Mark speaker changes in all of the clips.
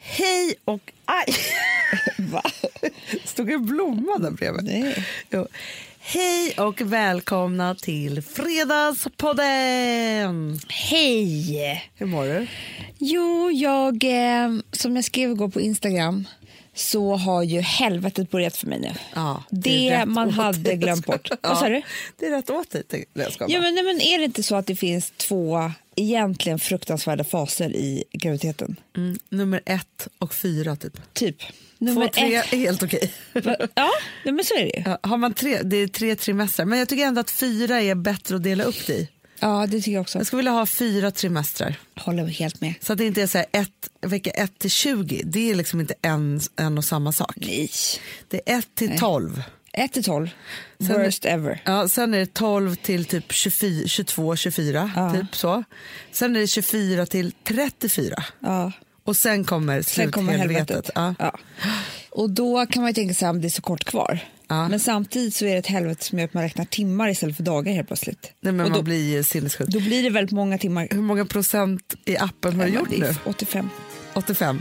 Speaker 1: Hej och aj!
Speaker 2: Va? Stod en blomma där bredvid?
Speaker 1: Nej. Jo. Hej och välkomna till Fredagspodden!
Speaker 3: Hej!
Speaker 1: Hur mår du?
Speaker 3: Jo, jag, eh, som jag skrev igår på Instagram så har ju helvetet börjat för mig nu.
Speaker 1: Ja,
Speaker 3: det
Speaker 1: är rätt
Speaker 3: man
Speaker 1: åt
Speaker 3: hade
Speaker 1: dig.
Speaker 3: glömt bort.
Speaker 1: Ja,
Speaker 3: Vad sa du?
Speaker 1: Det är rätt åt dig. tänkte jag. Jag skojar
Speaker 3: Ja,
Speaker 1: bara.
Speaker 3: men, nej, men är det inte så att det finns två egentligen fruktansvärda faser i graviditeten?
Speaker 1: mm, nummer ett och fyra, typ.
Speaker 3: Typ.
Speaker 1: Två, tre är helt okej.
Speaker 3: Va- Ja, nej, men så är det ju.
Speaker 1: Ja, har man tre, det är tre trimestrar, men jag tycker ändå att fyra är bättre att dela upp det i.
Speaker 3: Ja, det tycker jag också.
Speaker 1: Jag skulle vilja ha fyra trimestrar.
Speaker 3: Håller helt med.
Speaker 1: Så att det inte är så här ett, vecka 1 till 20, det är liksom inte en, en och samma sak.
Speaker 3: Nej.
Speaker 1: Det är 1 till 12.
Speaker 3: 1 till 12.
Speaker 1: Sen-
Speaker 3: Worst ever.
Speaker 1: Ja, sen är det 12 till typ 24, 22, 24.
Speaker 3: Ja.
Speaker 1: Typ så. Sen är det 24 till 34.
Speaker 3: Ja.
Speaker 1: Och sen kommer
Speaker 3: Sen kommer
Speaker 1: sluthelvetet.
Speaker 3: helvetet.
Speaker 1: Ja.
Speaker 3: Ja. Och då kan man ju tänka sig att det är så kort kvar.
Speaker 1: Ja.
Speaker 3: Men samtidigt så är det ett helvete som gör att man räknar timmar istället för dagar helt plötsligt.
Speaker 1: Nej, men
Speaker 3: Och då,
Speaker 1: man blir ju sinnessjuk.
Speaker 3: då blir det väldigt många timmar.
Speaker 1: Hur många procent i appen har du gjort
Speaker 3: Det är
Speaker 1: nu?
Speaker 3: 85.
Speaker 1: 85.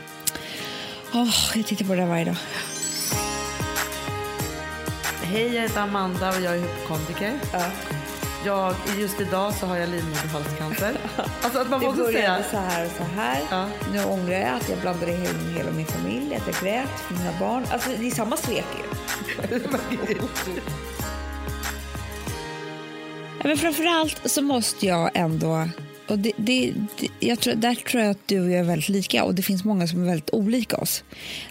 Speaker 3: Åh, jag tittar på det där varje dag.
Speaker 1: Hej, jag heter Amanda och jag är hypokondriker.
Speaker 3: Ja.
Speaker 1: Jag, just idag så har jag livmoderhalscancer. Alltså att man får
Speaker 3: Det
Speaker 1: också säga...
Speaker 3: började så här och så här.
Speaker 1: Ja.
Speaker 3: Nu ångrar jag att jag blandade in hela min familj, att jag grät för mina barn. Alltså det är samma svek ju. Ja, men framförallt så måste jag ändå... Och det, det, det, jag tror, där tror jag att du och jag är väldigt lika och det finns många som är väldigt olika oss.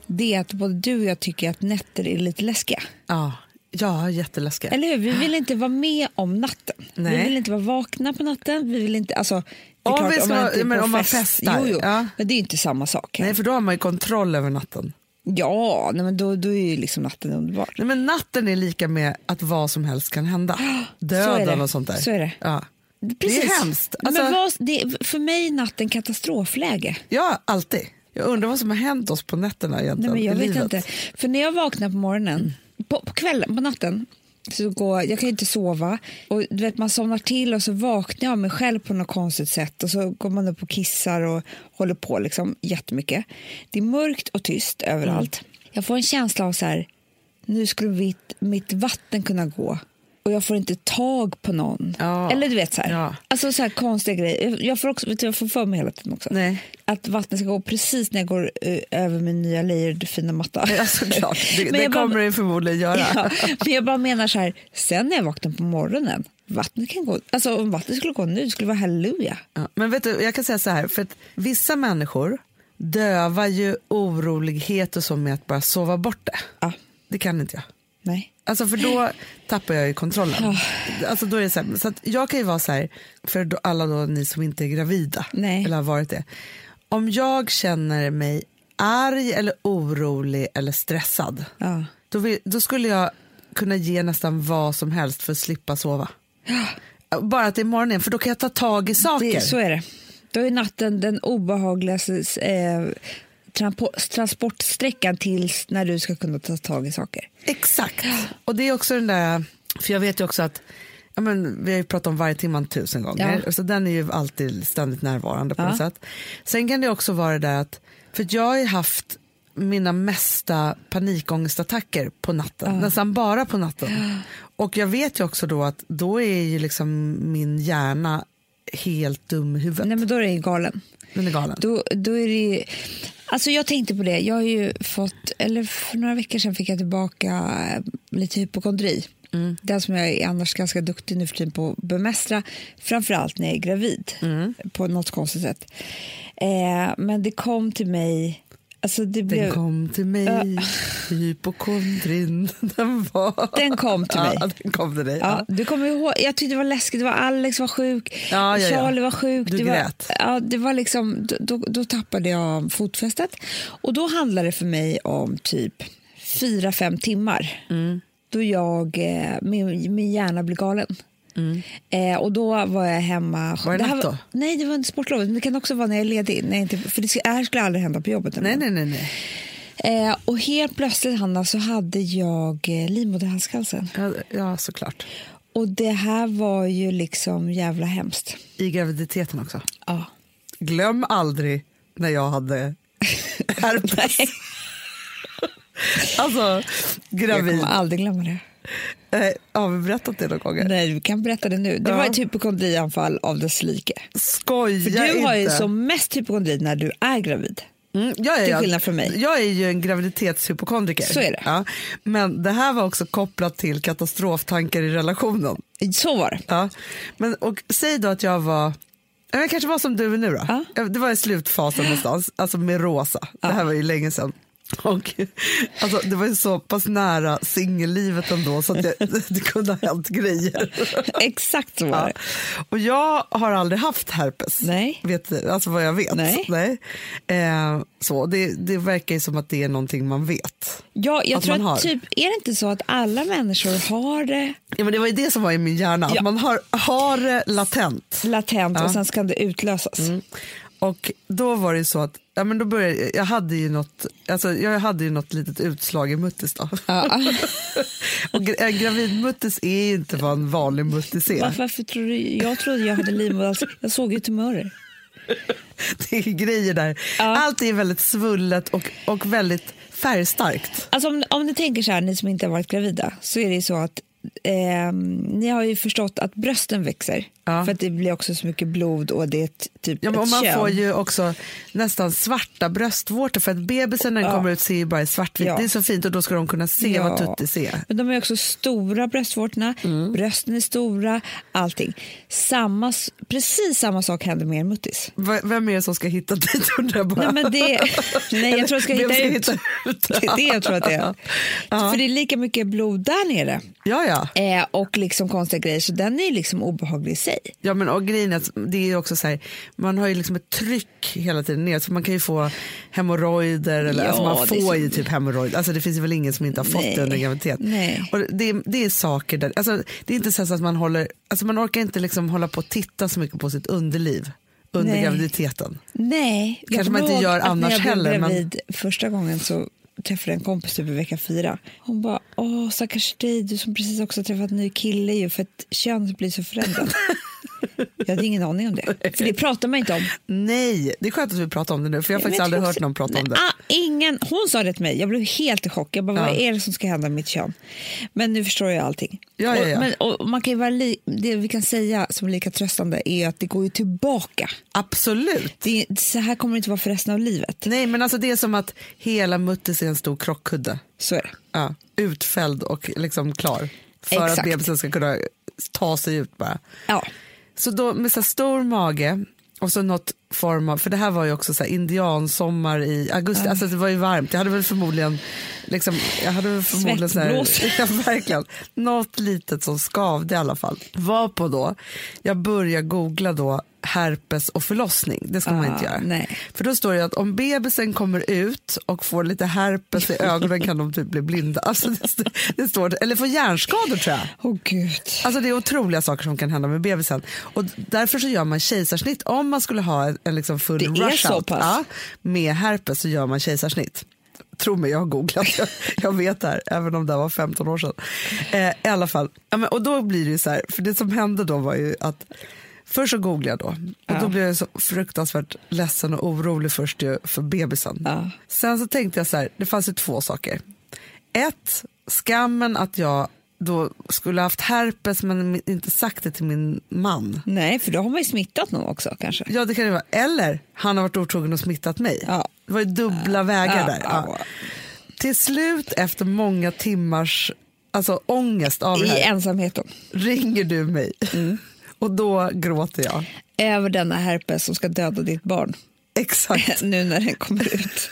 Speaker 3: Det är att både du och jag tycker att nätter är lite läskiga.
Speaker 1: Ja, ja jätteläskiga.
Speaker 3: Eller hur? Vi vill inte vara med om natten.
Speaker 1: Nej.
Speaker 3: Vi vill inte vara vakna på natten. Vi vill inte... Alltså, det är
Speaker 1: Om
Speaker 3: klart,
Speaker 1: vi ska-
Speaker 3: man inte är
Speaker 1: men
Speaker 3: på
Speaker 1: om man
Speaker 3: fest-
Speaker 1: festar,
Speaker 3: Jo, jo.
Speaker 1: ja.
Speaker 3: Men det är ju inte samma sak.
Speaker 1: Nej, för då har man ju kontroll över natten.
Speaker 3: Ja, nej, men då, då är ju liksom natten underbar.
Speaker 1: Nej, men natten är lika med att vad som helst kan hända.
Speaker 3: Så är
Speaker 1: Döden
Speaker 3: det.
Speaker 1: och sånt där.
Speaker 3: Så är det.
Speaker 1: Ja. Det
Speaker 3: Precis.
Speaker 1: är hemskt.
Speaker 3: Men
Speaker 1: Alltså,
Speaker 3: vad, det, för mig är natten katastrofläge.
Speaker 1: Ja, alltid. Jag undrar vad som har hänt oss på nätterna
Speaker 3: Nej,
Speaker 1: egentligen.
Speaker 3: men jag
Speaker 1: i
Speaker 3: vet
Speaker 1: livet.
Speaker 3: inte. För när jag vaknar på morgonen, på, på kvällen, på natten, så går, jag kan ju inte sova. Och du vet, man somnar till och så vaknar jag av mig själv på något konstigt sätt. Och så går man upp och kissar och håller på liksom jättemycket. Det är mörkt och tyst överallt.
Speaker 1: Mm.
Speaker 3: Jag får en känsla av så här, nu skulle mitt, mitt vatten kunna gå. Och jag får inte tag på någon.
Speaker 1: Ja.
Speaker 3: Eller du vet så här,
Speaker 1: Ja.
Speaker 3: alltså så här konstiga grejer. Jag får, också, vet du, jag får för mig hela tiden också
Speaker 1: Nej.
Speaker 3: att vattnet ska gå precis när jag går eh, över min nya layered fina matta.
Speaker 1: Ja, såklart. Det, det
Speaker 3: jag bara-
Speaker 1: kommer det förmodligen göra.
Speaker 3: Ja, men jag bara menar så här, sen när jag vaknar på morgonen, vattnet kan gå, alltså om vattnet skulle gå nu, det skulle vara halleluja.
Speaker 1: Ja, Men vet du, jag kan säga så här, för att vissa människor dövar ju orolighet och så med att bara sova bort det.
Speaker 3: Ja,
Speaker 1: Det kan inte jag.
Speaker 3: nej.
Speaker 1: Alltså för då tappar jag ju kontrollen. Alltså då är det så här, så att jag kan ju vara så här, för då, alla då ni som inte är gravida
Speaker 3: Nej.
Speaker 1: eller har varit det. Om jag känner mig arg eller orolig eller stressad,
Speaker 3: Ja.
Speaker 1: då, vill, då skulle jag kunna ge nästan vad som helst för att slippa sova. Bara att det är morgonen, för då kan jag ta tag i saker.
Speaker 3: Det, så är det. Då är natten den obehagligaste eh, trampo- transportsträckan tills när du ska kunna ta tag i saker.
Speaker 1: Exakt. Och det är också den där, för jag vet ju också att Ja, men vi har ju pratat om varje timman tusen gånger,
Speaker 3: Ja.
Speaker 1: så den är ju alltid ständigt närvarande på
Speaker 3: Ja.
Speaker 1: något sätt. Sen kan det också vara det där att, för att jag har ju haft mina mesta panikångestattacker på natten, nästan bara på natten. Och jag vet ju också då att då är ju liksom min hjärna helt dum i huvudet.
Speaker 3: Nej men då är det ju galen.
Speaker 1: Den är galen.
Speaker 3: Då, då är det ju... Alltså jag tänkte på det, jag har ju fått, eller för några veckor sedan fick jag tillbaka eh, lite hypokondri.
Speaker 1: Mm.
Speaker 3: Den som jag är annars ganska duktig nu för tiden på att bemästra, framförallt när jag är gravid
Speaker 1: Mm.
Speaker 3: på något konstigt sätt. Eh, men det kom till mig, alltså det
Speaker 1: Den
Speaker 3: blev,
Speaker 1: kom till mig, hypokondrin, den var...
Speaker 3: den kom till mig.
Speaker 1: Ja, den kom till dig.
Speaker 3: Ja, du kommer ihåg, jag tyckte det var läskigt, det var Alex var sjuk,
Speaker 1: Ja, ja, ja.
Speaker 3: Charlie var sjuk.
Speaker 1: Du
Speaker 3: det var,
Speaker 1: grät.
Speaker 3: Ja, det var liksom, då- då, då tappade jag fotfästet. Och då handlade det för mig om typ fyra fem timmar. Då jag, eh, min, min hjärna blev galen. Eh, och då var jag hemma.
Speaker 1: Mm. Var det
Speaker 3: här
Speaker 1: natt då?
Speaker 3: Nej, det var under sportlovet. Men det kan också vara när jag är ledig. Nej, inte, för det ska- det här skulle aldrig hända på jobbet.
Speaker 1: Nej, nej, nej. nej.
Speaker 3: Eh, och helt plötsligt, Hanna, så hade jag eh, livmoderhalscancer.
Speaker 1: Ja, ja, såklart.
Speaker 3: Och det här var ju liksom jävla hemskt.
Speaker 1: I graviditeten också.
Speaker 3: Ja.
Speaker 1: Glöm aldrig när jag hade herpes.
Speaker 3: Nej,
Speaker 1: Alltså,
Speaker 3: jag
Speaker 1: gravid.
Speaker 3: kommer aldrig glömma det.
Speaker 1: Eh, har vi berättat det några gånger?
Speaker 3: Nej, du kan berätta det nu. Det
Speaker 1: Ja.
Speaker 3: var ett hypokondrianfall av dess like.
Speaker 1: Skoja
Speaker 3: För du har ju
Speaker 1: inte.
Speaker 3: som mest hypokondri när du är gravid.
Speaker 1: Mm, jag är,
Speaker 3: Till skillnad från mig.
Speaker 1: Jag är ju en graviditetshypokondriker.
Speaker 3: Så är det.
Speaker 1: Ja. Men det här var också kopplat till katastroftankar i relationen.
Speaker 3: Så var det.
Speaker 1: Ja. Men, och säg då att jag var, ja, jag kanske var som du är nu då.
Speaker 3: Ja.
Speaker 1: Ja, Det var i slutfasen någonstans, alltså med Rosa. Det här var ju länge sedan. Och, alltså, det var ju så pass nära singellivet ändå så att jag, det kunde ha hänt grejer.
Speaker 3: Exakt så var
Speaker 1: Ja.
Speaker 3: det.
Speaker 1: Och jag har aldrig haft herpes.
Speaker 3: Nej.
Speaker 1: Vet, du, alltså vad jag vet.
Speaker 3: Nej.
Speaker 1: Eh, så det, det verkar ju som att det är någonting man vet.
Speaker 3: Ja, jag
Speaker 1: Att
Speaker 3: tror
Speaker 1: man har.
Speaker 3: att typ, är det inte så att alla människor har det
Speaker 1: Ja, men det var ju det som var i min hjärna. att
Speaker 3: Ja.
Speaker 1: Man har, har det latent.
Speaker 3: latent och sen ska det utlösas?
Speaker 1: Mm. Och då var det ju så att ja, men då började, jag- jag, hade ju något, alltså, jag hade ju något litet utslag i muttis. Då.
Speaker 3: Ja.
Speaker 1: Och gra- en gravidmuttis är ju inte vad en vanlig muttis är.
Speaker 3: Varför, varför tror du, jag trodde jag hade livmoderhalscancer. Jag såg ju tumörer.
Speaker 1: Det är grejer där.
Speaker 3: Ja.
Speaker 1: Allt är väldigt svullet och, och väldigt färgstarkt.
Speaker 3: Alltså om, om ni tänker så här, ni som inte har varit gravida, så är det ju så att ehm, ni har ju förstått att brösten växer.
Speaker 1: Ja.
Speaker 3: För att det blir också så mycket blod och det är ett, typ
Speaker 1: Ja, men och
Speaker 3: ett
Speaker 1: man
Speaker 3: kön.
Speaker 1: får ju också nästan svarta bröstvårtor för att bebisen när den
Speaker 3: Ja.
Speaker 1: kommer ut ser ju bara i svartvitt.
Speaker 3: Ja.
Speaker 1: Det är så fint och då ska de kunna se vad tuttis är.
Speaker 3: Men de är också stora bröstvårtorna,
Speaker 1: Mm.
Speaker 3: brösten är stora, allting. Samma, s- precis samma sak händer med er muttis.
Speaker 1: V- Vem är det som ska hitta dit undrar jag bara.
Speaker 3: Nej, men det, nej jag tror jag ska
Speaker 1: Vem
Speaker 3: hitta
Speaker 1: ska
Speaker 3: ut.
Speaker 1: hitta ut?
Speaker 3: Det är det jag tror att det är.
Speaker 1: Ja.
Speaker 3: För det är lika mycket blod där nere
Speaker 1: Ja, ja.
Speaker 3: eh, och liksom konstiga grejer, så den är ju liksom obehaglig i sig.
Speaker 1: ja men, och grejen är att det är ju också så här, man har ju liksom ett tryck hela tiden ner så man kan ju få hemorrojder eller
Speaker 3: Ja,
Speaker 1: alltså man
Speaker 3: det är
Speaker 1: får
Speaker 3: så-
Speaker 1: ju typ hemorrojder. Alltså det finns ju väl ingen som inte har fått
Speaker 3: Nej.
Speaker 1: det under graviditet.
Speaker 3: Nej.
Speaker 1: Och det, det är saker där, alltså, det är inte så att man håller, alltså man orkar inte liksom hålla på och titta så mycket på sitt underliv under
Speaker 3: Nej.
Speaker 1: graviditeten.
Speaker 3: Nej, jag
Speaker 1: Kanske man inte
Speaker 3: kommer ihåg
Speaker 1: gör
Speaker 3: att
Speaker 1: annars
Speaker 3: När
Speaker 1: heller,
Speaker 3: jag
Speaker 1: men-
Speaker 3: blev gravid första gången så träffade jag en kompis typ i vecka fyra. Hon bara, åh stackars dig, du som precis också har träffat en ny kille ju för att könet blir så förändrat. jag hade ingen aning om det, för det pratar man inte om.
Speaker 1: Nej, det är skönt att vi pratar om det nu för jag har
Speaker 3: Men
Speaker 1: faktiskt
Speaker 3: jag
Speaker 1: aldrig
Speaker 3: tror
Speaker 1: hört någon prata
Speaker 3: nej,
Speaker 1: om det.
Speaker 3: Ah, ingen, hon sa det till mig, jag blev helt i chock. Jag bara,
Speaker 1: Ja.
Speaker 3: vad är det som ska hända med mitt kön? Men nu förstår jag allting.
Speaker 1: Ja, ja, ja.
Speaker 3: Och, men, och man kan ju vara li- det vi kan säga som är lika tröstande är att det går ju tillbaka.
Speaker 1: Absolut.
Speaker 3: Det, är- så här kommer det inte vara för resten av livet.
Speaker 1: Nej men alltså det är som att hela muttis är en stor krockkudde.
Speaker 3: Så är det.
Speaker 1: Ja, utfälld och liksom klar. För att
Speaker 3: Exakt.
Speaker 1: bebisen ska kunna ta sig ut bara.
Speaker 3: Ja.
Speaker 1: Så då med så här stor mage och så något form av, för det här var ju också så här indiansommar i augusti, alltså det var ju varmt, jag hade väl förmodligen, liksom, jag hade väl förmodligen så här,
Speaker 3: Svettblåsor.
Speaker 1: ja, verkligen, något litet som skavde i alla fall. Var på då, jag börjar googla då herpes och förlossning, det ska man
Speaker 3: Ah,
Speaker 1: inte göra.
Speaker 3: nej.
Speaker 1: För då står det att om bebisen kommer ut och får lite herpes i ögonen kan de typ bli blinda, alltså det, st- det står, eller får hjärnskador tror jag.
Speaker 3: Åh gud.
Speaker 1: Alltså det är otroliga saker som kan hända med bebisen. Och därför så gör man kejsarsnitt om man skulle ha en, en liksom full
Speaker 3: Det är
Speaker 1: rush
Speaker 3: så
Speaker 1: out.
Speaker 3: pass.
Speaker 1: Ja, med herpes så gör man kejsarsnitt. Tro mig, jag har googlat. Jag, jag vet det här, även om det här var 15 år sedan. Eh, I alla fall, ja, men, och då blir det ju så här, för det som hände då var ju att Först så googlade jag då och då blev jag så fruktansvärt ledsen och orolig först ju för bebisen.
Speaker 3: Ja.
Speaker 1: Sen så tänkte jag så här, det fanns ju två saker. Ett, skammen att jag då skulle haft herpes men inte sagt det till min man.
Speaker 3: Nej, för då har man ju smittat någon också kanske.
Speaker 1: Ja det kan det vara. Eller han har varit otrogen och smittat mig.
Speaker 3: Ja.
Speaker 1: Det var ju dubbla vägar
Speaker 3: Ja,
Speaker 1: där. Ja.
Speaker 3: ja.
Speaker 1: Till slut efter många timmars alltså, ångest av det
Speaker 3: I Mm.
Speaker 1: här
Speaker 3: ensamheten.
Speaker 1: ringer du mig. Och då gråter jag.
Speaker 3: Över denna herpes som ska döda ditt barn.
Speaker 1: Exakt,
Speaker 3: nu när den kommer ut.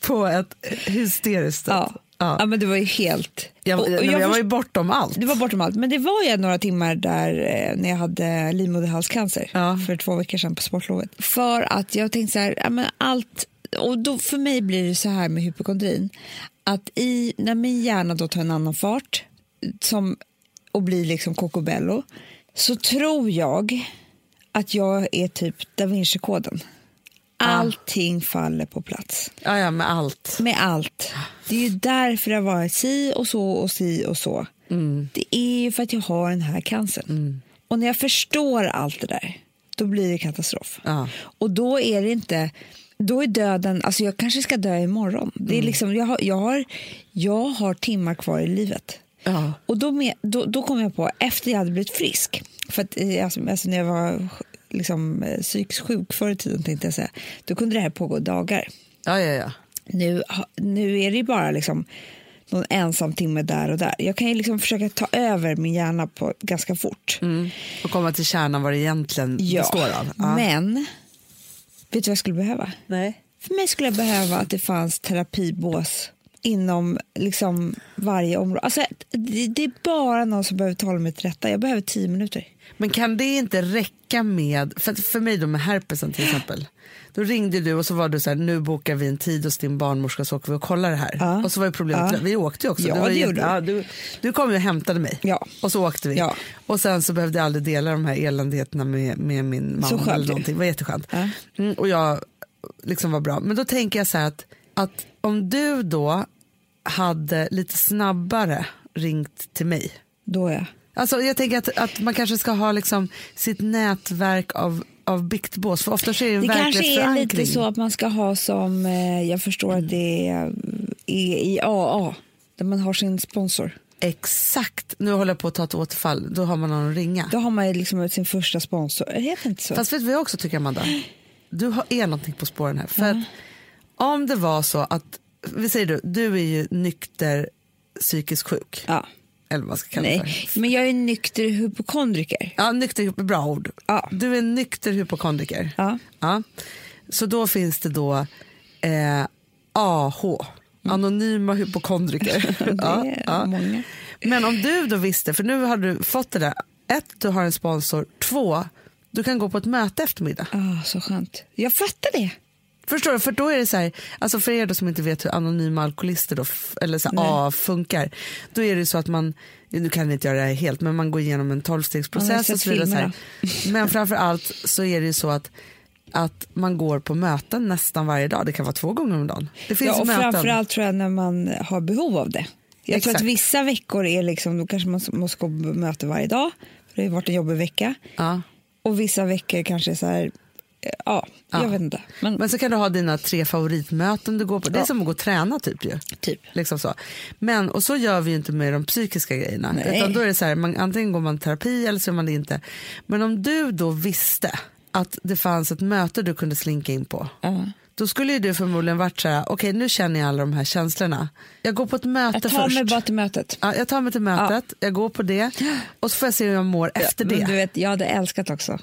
Speaker 1: på ett hysteriskt sätt.
Speaker 3: ja. Ja.
Speaker 1: Ja.
Speaker 3: men det var ju helt...
Speaker 1: Jag,
Speaker 3: och, och
Speaker 1: jag,
Speaker 3: jag
Speaker 1: jag var ju
Speaker 3: först-
Speaker 1: bortom allt.
Speaker 3: Det var bortom allt, men det var ju några timmar där eh, när jag hade livmoderhalscancer
Speaker 1: Ja.
Speaker 3: för två veckor sedan på sportlovet. För att jag tänkte så här, ja, men allt... Och då, för mig blir det så här med hypokondrin, att i, när min hjärna då tar en annan fart som, och blir liksom kokobello så tror jag att jag är typ da Vinci-koden. Allting faller på plats
Speaker 1: Ja, ja, med allt.
Speaker 3: med allt. Det är ju därför det har varit si och så och si och så. Det är ju för att jag har den här cancern. Och när jag förstår allt det där, då blir det katastrof.
Speaker 1: Ja.
Speaker 3: Och då är det inte... då är döden, alltså jag kanske ska dö imorgon. Det är liksom, jag, har, jag, har, jag har timmar kvar i livet.
Speaker 1: Ja.
Speaker 3: Och då, med, då, då kom jag på, efter jag hade blivit frisk, för att, eh, alltså, alltså när jag var liksom, eh, psykiskt sjuk förr i tiden, tänkte jag säga, då kunde det här pågå dagar.
Speaker 1: Ja, ja, ja.
Speaker 3: Nu, ha- nu är det ju bara liksom någon ensam timme där och där. Jag kan ju liksom försöka ta över min hjärna på ganska fort.
Speaker 1: Mm. Och komma till kärnan vad det egentligen består av. Ja.
Speaker 3: Men vet du vad jag skulle behöva?
Speaker 1: Nej.
Speaker 3: För mig skulle jag behöva att det fanns terapibås inom liksom varje område. Alltså, det, det är bara någon som behöver tala mig till rätta. Jag behöver tio minuter.
Speaker 1: Men kan det inte räcka med, för, för mig då med herpesen till exempel. Då ringde du och så var du så här, nu bokar vi en tid hos din barnmorska så åker vi och kollar det här.
Speaker 3: Ja.
Speaker 1: Och så var ju problemet,
Speaker 3: Ja.
Speaker 1: vi åkte ju också.
Speaker 3: Ja,
Speaker 1: var
Speaker 3: det
Speaker 1: jätte-
Speaker 3: gjorde vi.
Speaker 1: ja, du. Du kom ju och hämtade mig
Speaker 3: Ja.
Speaker 1: och så åkte vi.
Speaker 3: Ja.
Speaker 1: Och sen så behövde jag aldrig dela de här eländigheterna med, med min mamma
Speaker 3: Så skönt
Speaker 1: eller
Speaker 3: ju.
Speaker 1: någonting. Det var jätteskönt.
Speaker 3: Ja.
Speaker 1: Mm, och jag liksom var bra. Men då tänker jag så här att, att om du då hade lite snabbare ringt till mig
Speaker 3: Då är jag.
Speaker 1: Alltså, jag tänker att, att man kanske ska ha liksom sitt nätverk av, av biktbås. För ofta så är det en
Speaker 3: Det kanske är
Speaker 1: verklighetsförankring.
Speaker 3: lite så att man ska ha som, eh, jag förstår att det är, är i AA, där man har sin sponsor.
Speaker 1: Exakt. Nu håller jag på att ta ett återfall. Då har man någon att ringa.
Speaker 3: Då har man ju liksom sin första sponsor. Det heter inte så.
Speaker 1: Fast vet du vad jag också tycker, Amanda? Du har, är någonting på spåren här. För att om det var så att, vi säger du, du är ju nykter psykisk sjuk.
Speaker 3: ja.
Speaker 1: Eller vad man ska kalla det
Speaker 3: Nej.
Speaker 1: för.
Speaker 3: Men jag är nykter hypokondriker.
Speaker 1: Ja, nykter är bra ord.
Speaker 3: Ja.
Speaker 1: Du är nykter hypokondriker.
Speaker 3: Ja.
Speaker 1: Ja. Så då finns det då eh, AH, anonyma hypokondriker. ja,
Speaker 3: är
Speaker 1: ja.
Speaker 3: många.
Speaker 1: Men om du då visste, för nu har du fått det där, ett, du har en sponsor, två, du kan gå på ett möte eftermiddag.
Speaker 3: Ah, så skönt. Jag fattar det.
Speaker 1: Förstår du? För då är det så här, alltså för er då som inte vet hur anonyma alkoholister då, f- eller så här, A funkar, då är det ju så att man, nu kan ni inte göra det här helt, men man går igenom en
Speaker 3: Ja, jag har
Speaker 1: tolvstegsprocess
Speaker 3: sett
Speaker 1: och så vidare. Så här. Men framför allt så är det ju så att att man går på möten nästan varje dag. Det kan vara två gånger om dagen. Det finns
Speaker 3: Ja, och
Speaker 1: möten.
Speaker 3: framförallt tror jag när man har behov av det. Jag tror
Speaker 1: Exakt.
Speaker 3: att vissa veckor är liksom, då kanske man måste gå på möte varje dag. Det har ju varit en jobbig vecka.
Speaker 1: Ja.
Speaker 3: Och vissa veckor kanske är så här, eh, ja, jag
Speaker 1: Ja.
Speaker 3: vet inte. Men,
Speaker 1: Men så kan du ha dina tre favoritmöten du går på. Det är
Speaker 3: Ja.
Speaker 1: som att gå och träna typ ju.
Speaker 3: typ.
Speaker 1: Liksom så. Men, och så gör vi ju inte med de psykiska grejerna.
Speaker 3: Nej.
Speaker 1: Utan då är det så här, man, antingen går man i terapi eller så gör man det inte. Men om du då visste att det fanns ett möte du kunde slinka in på.
Speaker 3: Ja.
Speaker 1: Då skulle ju du förmodligen varit så här, okej nu känner jag alla de här känslorna. Jag går på ett möte
Speaker 3: Jag tar
Speaker 1: först.
Speaker 3: mig bara till mötet.
Speaker 1: Ja, jag tar mig till mötet, jag går på det och så får jag se hur jag mår efter
Speaker 3: Men du
Speaker 1: det.
Speaker 3: vet, jag hade älskat också.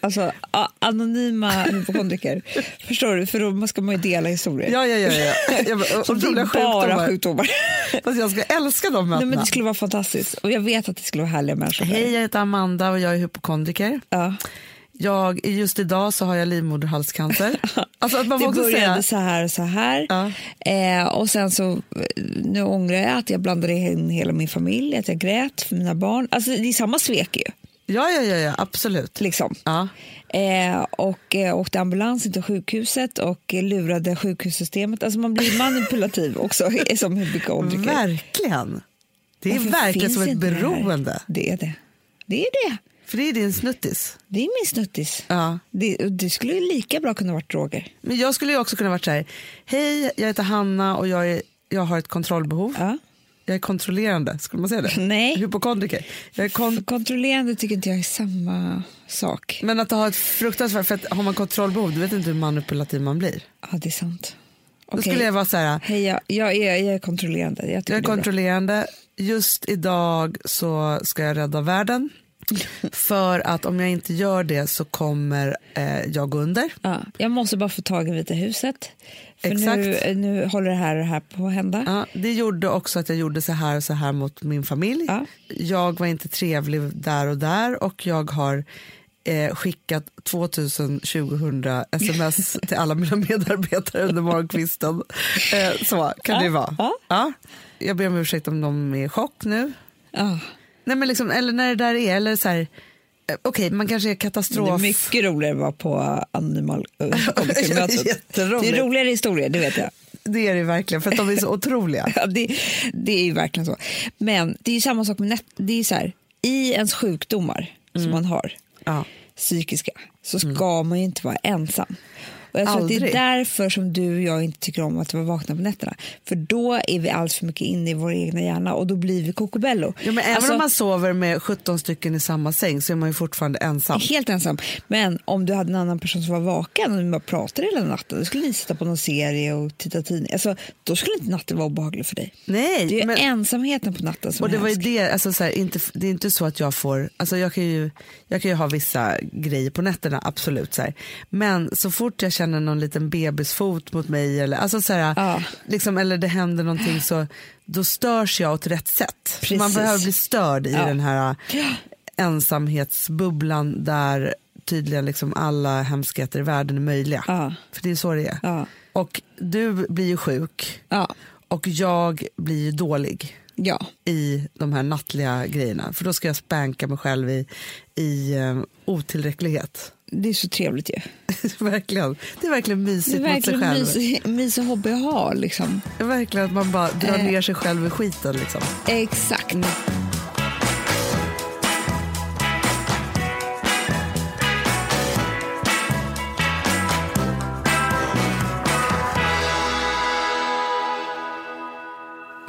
Speaker 3: Alltså a- anonyma hypokondriker. Förstår du? För då ska man ju dela historier.
Speaker 1: Ja, ja, ja. ja. Jag bara,
Speaker 3: och det är bara
Speaker 1: otroliga
Speaker 3: sjukdomar.
Speaker 1: sjukdomar. Fast jag ska älska de
Speaker 3: Nej,
Speaker 1: mötena.
Speaker 3: men det skulle vara fantastiskt. Och jag vet att det skulle vara härliga människor.
Speaker 1: Hej, jag heter Amanda och jag är hypokondriker.
Speaker 3: Ja.
Speaker 1: Jag, just idag så har jag livmoderhalscancer. Alltså att man får
Speaker 3: Det
Speaker 1: också säga,
Speaker 3: började så här och så här.
Speaker 1: Ja.
Speaker 3: Eh, och sen så, eh, nu ångrar jag att jag blandade in hela min familj, att jag grät för mina barn. Alltså det är samma svek ju.
Speaker 1: ja, ja, ja, ja, absolut.
Speaker 3: Liksom.
Speaker 1: Ja.
Speaker 3: Eh, och eh, åkte ambulansen till sjukhuset och eh, lurade sjukhussystemet. Alltså man blir manipulativ också som hypokondriker.
Speaker 1: Verkligen. Det är
Speaker 3: Varför
Speaker 1: verkligen
Speaker 3: finns
Speaker 1: som ett
Speaker 3: inte det här?
Speaker 1: beroende.
Speaker 3: Det är det. Det är det.
Speaker 1: För det är din snuttis.
Speaker 3: Det är min snuttis.
Speaker 1: Ja.
Speaker 3: Det, det skulle ju lika bra kunna varit droger.
Speaker 1: Men jag skulle ju också kunna varit så här, hej, jag heter Hanna och jag, är, jag har ett kontrollbehov.
Speaker 3: Ja.
Speaker 1: Jag är kontrollerande, skulle man säga det?
Speaker 3: Nej.
Speaker 1: Hypokondriker. Jag är kon-
Speaker 3: För kontrollerande tycker inte jag är samma sak.
Speaker 1: men att ha ett fruktansvärt, för att har man kontrollbehov, du vet inte hur manipulativ man blir.
Speaker 3: Ja, det är sant.
Speaker 1: Då
Speaker 3: Okej.
Speaker 1: skulle jag vara så här,
Speaker 3: Hej, jag, jag, är, jag är kontrollerande. Jag tycker
Speaker 1: jag är
Speaker 3: det är bra.
Speaker 1: kontrollerande, just idag så ska jag rädda världen. För att om jag inte gör det så kommer eh, jag gå under.
Speaker 3: Ja, jag måste bara få tag i Vita huset. För Nu,
Speaker 1: Exakt.
Speaker 3: nu håller det här och det här på att hända.
Speaker 1: Ja, det gjorde också att jag gjorde så här och så här mot min familj.
Speaker 3: Ja.
Speaker 1: Jag var inte trevlig där och där och jag har eh, skickat 2000 2000 sms till alla mina medarbetare under morgonkvisten. Eh, så kan det vara.
Speaker 3: ja.
Speaker 1: Ja. Jag ber om ursäkt om de är i chock nu.
Speaker 3: Ja.
Speaker 1: Nej, men liksom, eller när det där är, eller så här, eh, okej man kanske är
Speaker 3: Men Det är
Speaker 1: katastrof.
Speaker 3: mycket roligare att vara på anonymal äh, komikermötet.
Speaker 1: Jätteroligt.
Speaker 3: Det är roligare historier, det vet jag.
Speaker 1: Det är det verkligen för att de är så otroliga.
Speaker 3: Ja, det, det är ju verkligen så. Men det är ju samma sak med net, det är ju så här, i ens Mm. sjukdomar som man har,
Speaker 1: Ja.
Speaker 3: Mm. psykiska, så ska man ju inte vara ensam. Och jag tror att det
Speaker 1: Aldrig.
Speaker 3: är därför som du och jag inte tycker om att vara vakna på nätterna. För då är vi alls för mycket inne i vår egna hjärna och då blir vi kokobello.
Speaker 1: Ja, men även
Speaker 3: Alltså-
Speaker 1: om man sover med 17 stycken i samma säng så är man ju fortfarande ensam.
Speaker 3: Helt ensam. Men om du hade en annan person som var vaken och ni bara pratade hela natten, då skulle ni sitta på någon serie och titta tidning. Alltså, då skulle inte natten vara obehaglig för dig.
Speaker 1: Nej,
Speaker 3: Det är ju
Speaker 1: men,
Speaker 3: ensamheten på natten som
Speaker 1: och det
Speaker 3: är
Speaker 1: var ju
Speaker 3: hemsk.
Speaker 1: det, alltså så här, inte, det är inte så att jag får, alltså jag kan ju, jag kan ju ha vissa grejer på nätterna, absolut. Så här. Men så fort jag känner någon liten bebisfot mot mig eller, alltså så här,
Speaker 3: Ja.
Speaker 1: liksom, eller det händer någonting så då störs jag åt rätt sätt.
Speaker 3: Precis.
Speaker 1: Man behöver bli störd i
Speaker 3: Ja.
Speaker 1: den här ensamhetsbubblan där tydligen liksom alla hemskheter i världen är möjliga.
Speaker 3: Ja.
Speaker 1: För det är så det är.
Speaker 3: Ja.
Speaker 1: Och du blir ju sjuk
Speaker 3: Ja.
Speaker 1: och jag blir ju dålig
Speaker 3: ja.
Speaker 1: i de här nattliga grejerna. För då ska jag spänka mig själv i, i eh, otillräcklighet.
Speaker 3: Det är så trevligt ju.
Speaker 1: verkligen. Det är verkligen
Speaker 3: Det är
Speaker 1: mysigt mot sig
Speaker 3: verkligen
Speaker 1: själv.
Speaker 3: mysig mys hobby att ha. Liksom.
Speaker 1: Det är verkligen att man bara drar
Speaker 3: Eh.
Speaker 1: ner sig själv i skiten. Liksom.
Speaker 3: Exakt.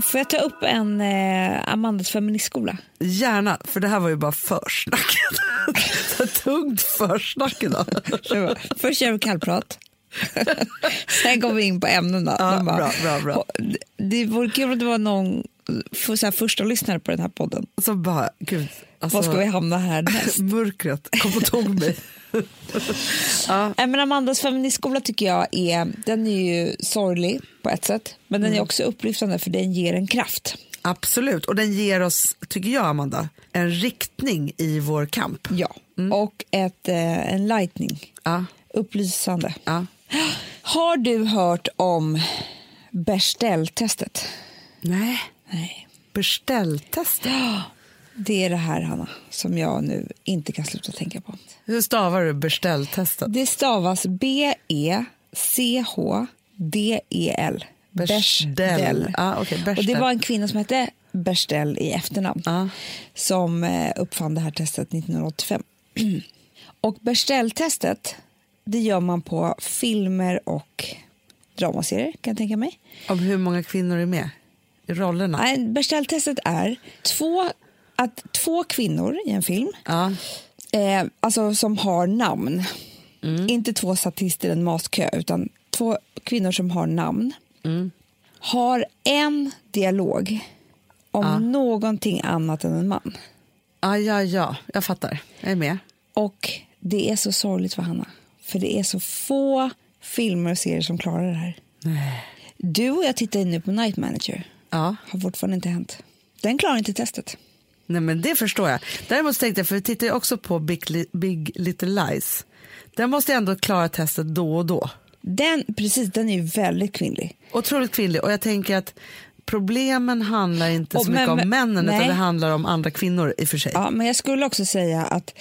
Speaker 3: Får jag ta upp en eh, Amandas feministskola?
Speaker 1: Gärna, för det här var ju bara försnack. Så tungt försnack idag.
Speaker 3: Så bara, Först gör vi kallprat. Sen går vi in på ämnena.
Speaker 1: Ja,
Speaker 3: Man bara,
Speaker 1: bra, bra, bra.
Speaker 3: "Det- Det vore kul om det var någon för, så här, första lyssnare på den här podden.
Speaker 1: Så bara, gud. Alltså,
Speaker 3: Var ska vi hamna härnäst?
Speaker 1: Mörkret kom och tog mig.
Speaker 3: Nej, men Amandas feministskola tycker jag är, den är ju sorglig på ett sätt. Men den är också upplyftande för den ger en kraft.
Speaker 1: Absolut, och den ger oss, tycker jag Amanda, en riktning i vår kamp.
Speaker 3: Ja. Mm. Och ett, eh, en lightning.
Speaker 1: Ja,
Speaker 3: Upplysande.
Speaker 1: ja.
Speaker 3: Har du hört om Bechdel-testet?
Speaker 1: Nej,
Speaker 3: Nej.
Speaker 1: beställtestet.
Speaker 3: Det är det här, Hanna, som jag nu inte kan sluta tänka på.
Speaker 1: Hur stavar du beställtestet?
Speaker 3: Det stavas E B-E-C-H-D-E-L.
Speaker 1: Bechdel. Ja, okej,
Speaker 3: Och det
Speaker 1: Bechdel.
Speaker 3: var en kvinna som hette Bechdel i efternamn
Speaker 1: Ja.
Speaker 3: som eh, uppfann det här testet 1985. och Bechdel-testet det gör man på filmer och dramaserier, kan jag tänka mig.
Speaker 1: Om hur många kvinnor är med i rollerna?
Speaker 3: Nej, Bechdel-testet är två, att två kvinnor i en film
Speaker 1: Ja.
Speaker 3: eh, alltså som har namn. Inte två statister i en maskö, utan två kvinnor som har namn. Har en dialog om någonting annat än en man.
Speaker 1: Ja, ja, ja, jag fattar. Jag är med.
Speaker 3: Och det är så sorgligt för Hanna. För det är så få filmer och serier som klarar det här. Du och jag tittar ju nu på Night Manager.
Speaker 1: Ja.
Speaker 3: Har fortfarande inte hänt. Den klarar inte testet.
Speaker 1: Nej, men det förstår jag. Däremot tänkte jag, för vi tittar ju också på Big, Li- Big Little Lies. Den måste ju ändå klara testet då och då.
Speaker 3: Den, precis, den är ju väldigt kvinnlig.
Speaker 1: Otroligt kvinnlig. Och jag tänker att problemen handlar inte
Speaker 3: Och
Speaker 1: så mycket
Speaker 3: men-
Speaker 1: om männen
Speaker 3: nej.
Speaker 1: utan det handlar om andra kvinnor i och för sig.
Speaker 3: Ja, men jag skulle också säga att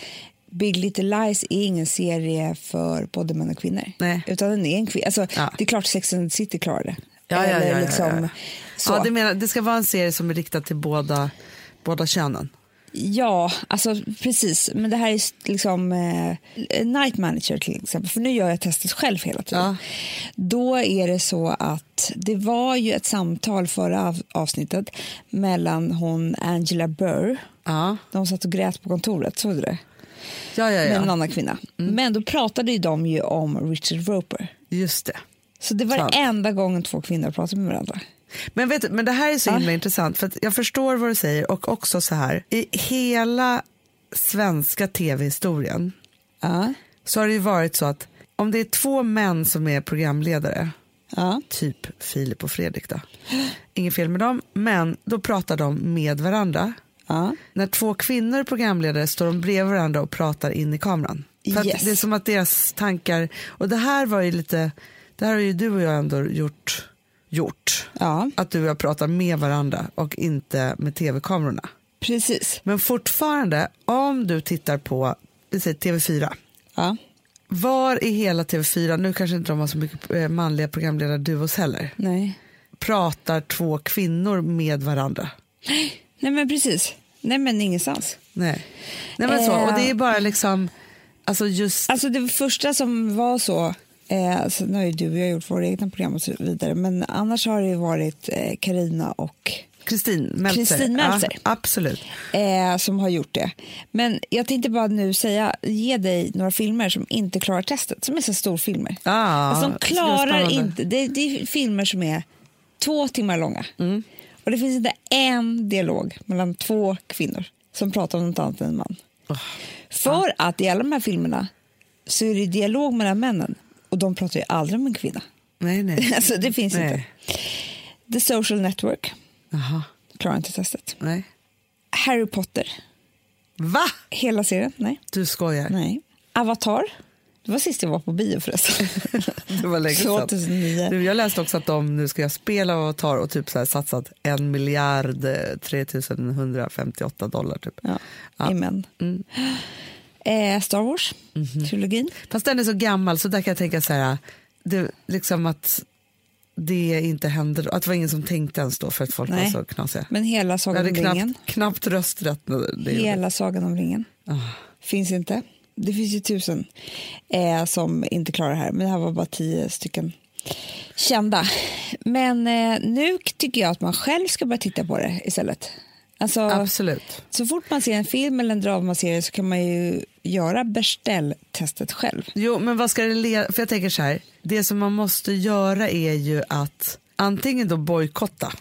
Speaker 3: Big Little Lies är ingen serie för både män och kvinnor.
Speaker 1: Nej.
Speaker 3: Utan den är en kvin- alltså,
Speaker 1: Ja.
Speaker 3: Det är klart Sex and the City klarar det.
Speaker 1: Ja, ja, ja, ja,
Speaker 3: liksom
Speaker 1: ja, ja.
Speaker 3: så.
Speaker 1: Ja, det, menar, det ska vara en serie som är riktad till båda, båda könen.
Speaker 3: Ja, alltså precis. Men det här är s- liksom eh, night manager till exempel, för nu gör jag testet själv hela tiden.
Speaker 1: Ja.
Speaker 3: Då är det så att det var ju ett samtal förra av- avsnittet mellan hon Angela Burr,
Speaker 1: Ja,
Speaker 3: de satt och grät på kontoret, såg du det?
Speaker 1: ja, ja. Mm.
Speaker 3: Med en
Speaker 1: ja.
Speaker 3: annan kvinna. Men då pratade ju de ju om Richard Roper.
Speaker 1: Just det.
Speaker 3: Så det var
Speaker 1: Sant.
Speaker 3: enda gången två kvinnor pratade med varandra.
Speaker 1: Men, vet du, men det här är så himla intressant för att jag förstår vad du säger och också så här i hela svenska tv-historien
Speaker 3: Ja,
Speaker 1: så har det ju varit så att om det är två män som är programledare
Speaker 3: ja,
Speaker 1: typ Filip och Fredrik då inget fel med dem men då pratar de med varandra
Speaker 3: ja.
Speaker 1: när två kvinnor är programledare står de bredvid varandra och pratar in i kameran. För att
Speaker 3: Yes.
Speaker 1: Det är som att deras tankar, och det här var ju lite, det här har ju du och jag ändå gjort, gjort.
Speaker 3: ja.
Speaker 1: Att du och jag pratar med varandra och inte med tv-kamerorna.
Speaker 3: precis.
Speaker 1: Men fortfarande, om du tittar på, vi säger TV4,
Speaker 3: Ja.
Speaker 1: var i hela TV4, nu kanske inte de har så mycket eh, manliga programledarduos heller,
Speaker 3: Nej.
Speaker 1: pratar två kvinnor med varandra?
Speaker 3: Nej, men precis. Nej, men ingenstans.
Speaker 1: Nej, Nej men så,
Speaker 3: Eh.
Speaker 1: och det är bara liksom, alltså just
Speaker 3: Alltså det första som var så Eh, sen har ju du och jag gjort våra egna program och så vidare. Men annars har det ju varit Karina och
Speaker 1: Kristin Meltzer.
Speaker 3: Kristin Meltzer.
Speaker 1: Ja, absolut.
Speaker 3: eh, som har gjort det. Men jag tänkte bara nu säga, ge dig några filmer som inte klarar testet, som är så storfilmer.
Speaker 1: Ja,
Speaker 3: alltså, de
Speaker 1: det ska bli
Speaker 3: klarar
Speaker 1: spännande.
Speaker 3: inte, det, det är filmer som är två timmar långa.
Speaker 1: Mm.
Speaker 3: Och det finns inte en dialog mellan två kvinnor som pratar om något annat än en man. För att i alla de här filmerna så är det dialog mellan männen och de pratar ju aldrig om en kvinna.
Speaker 1: Nej, nej.
Speaker 3: Alltså det finns inte.
Speaker 1: nej.
Speaker 3: The Social Network
Speaker 1: Jaha,
Speaker 3: klarar inte testet.
Speaker 1: nej.
Speaker 3: Harry Potter,
Speaker 1: Va?
Speaker 3: hela serien, nej.
Speaker 1: Du skojar.
Speaker 3: Nej. Avatar. Det var sist jag var på bio förresten.
Speaker 1: Det var länge sedan.
Speaker 3: 2009.
Speaker 1: Du, jag läste också att de nu ska jag spela Avatar och typ så här satsat en miljard eh, 3158 dollar. Typ.
Speaker 3: Ja, Amen.
Speaker 1: Mm.
Speaker 3: Eh, Star Wars,
Speaker 1: Mhm.
Speaker 3: trilogin.
Speaker 1: Fast den är så gammal så där kan jag tänka så här, det, liksom att det inte hände, att det var ingen som tänkte ens då för att folk var
Speaker 3: Nej.
Speaker 1: så knasiga.
Speaker 3: Men hela
Speaker 1: Jag
Speaker 3: Sagan
Speaker 1: hade
Speaker 3: om ringen.
Speaker 1: knappt, knappt rösträtt. När det gjorde.
Speaker 3: Hela Sagan om ringen.
Speaker 1: Ah.
Speaker 3: Finns inte. Det finns ju tusen eh, som inte klarar det här, men det här var bara tio stycken kända. Men eh, nu tycker jag att man själv ska börja titta på det istället. Alltså,
Speaker 1: Absolut.
Speaker 3: så fort man ser en film eller en dramaserie så kan man ju göra beställtestet själv.
Speaker 1: Jo, men vad ska det leda För jag tänker så här, det som man måste göra är ju att antingen då bojkotta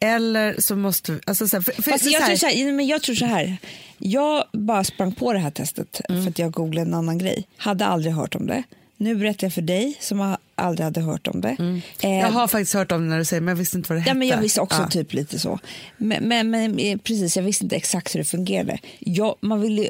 Speaker 1: eller så måste vi, alltså så här, för, för,
Speaker 3: Fast
Speaker 1: för
Speaker 3: jag,
Speaker 1: så här,
Speaker 3: tror så här, nej, men jag tror så här. Jag bara sprang på det här testet
Speaker 1: Mm.
Speaker 3: för att jag googlade en annan grej. Hade aldrig hört om det. Nu berättar jag för dig som har- aldrig hade hört om det. Eh,
Speaker 1: Mm. jag har faktiskt hört om det när du säger men jag visste inte vad det hette.
Speaker 3: Ja, men jag visste också
Speaker 1: Ja.
Speaker 3: typ lite så. Men, men, men eh, precis, jag visste inte exakt hur det fungerade. Ja, man vill ju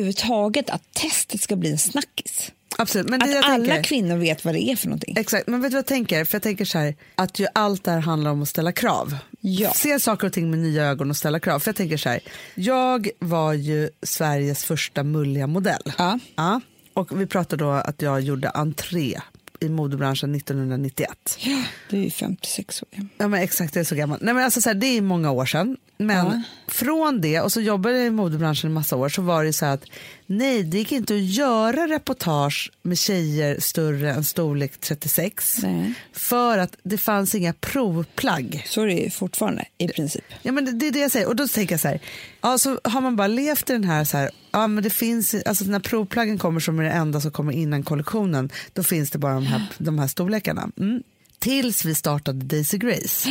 Speaker 3: överhuvudtaget att testet ska bli en snackis.
Speaker 1: Absolut, men det jag
Speaker 3: att alla
Speaker 1: tänker,
Speaker 3: kvinnor vet vad det är för någonting.
Speaker 1: Exakt, men vet du vad jag tänker? För jag tänker så här, att ju allt det här handlar om att ställa krav.
Speaker 3: Ja.
Speaker 1: Se saker och ting med nya ögon och ställa krav. För jag tänker så här, jag var ju Sveriges första mulliga modell.
Speaker 3: Ja.
Speaker 1: Ja, och vi pratade då att jag gjorde entré i modebranschen 1991.
Speaker 3: Ja, du är ju 56 år. ja.
Speaker 1: Ja men exakt, det är så gammalt. Nej men alltså så här, det är många år sedan. Men
Speaker 3: Ja.
Speaker 1: från det, och så jobbade jag i modebranschen en massa år, så var det så här att nej det gick inte att göra reportage med tjejer större än storlek 36.
Speaker 3: Nej.
Speaker 1: För att det fanns inga provplagg.
Speaker 3: Så är det ju fortfarande i
Speaker 1: Eh.
Speaker 3: princip.
Speaker 1: Ja, men det, det är det jag säger. Och då tänker jag så här, ja, så har man bara levt i den här, så här ja, men det finns, alltså när provplaggen kommer som är det enda som kommer innan kollektionen, då finns det bara de här, de här storlekarna. Mm. Tills vi startade Daisy Grace.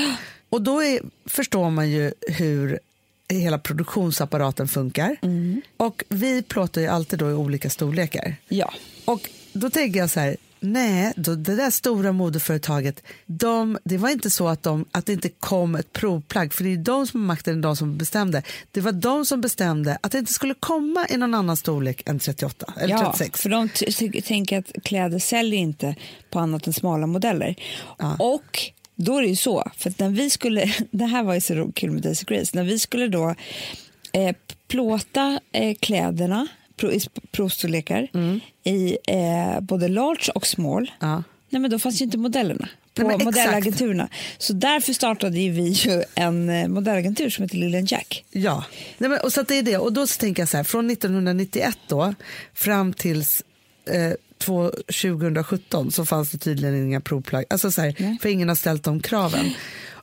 Speaker 1: Och då är, förstår man ju hur hela produktionsapparaten funkar. Och vi plåtar ju alltid då i olika storlekar.
Speaker 3: Ja.
Speaker 1: Och då tänker jag så här, nej, då, det där stora modeföretaget, de, det var inte så att, de, att det inte kom ett provplagg, för det är ju de som har makten, de som bestämde. Det var de som bestämde att det inte skulle komma i någon annan storlek än 38 eller
Speaker 3: ja,
Speaker 1: 36.
Speaker 3: för de t- ty- tänker att kläder säljer inte på annat än smala modeller. Och då är det ju så, för att när vi skulle, det här var ju så ro- kul med Daisy Grace, när vi skulle då eh, plåta eh, kläderna pro, i sp- provstorlekar i eh, både large och small,
Speaker 1: Mm. Ja.
Speaker 3: nej men då fanns ju inte modellerna på
Speaker 1: Nej, men exakt.
Speaker 3: modellagenturerna. Så därför startade ju vi ju en eh, modellagentur som heter Lillian Jack.
Speaker 1: Ja, Nej, men, och så att det är det. Och då så tänker jag så här, från 1991 då fram tills eh, två- 2017 så fanns det tydligen inga provplagg, alltså så här, för ingen har ställt de kraven.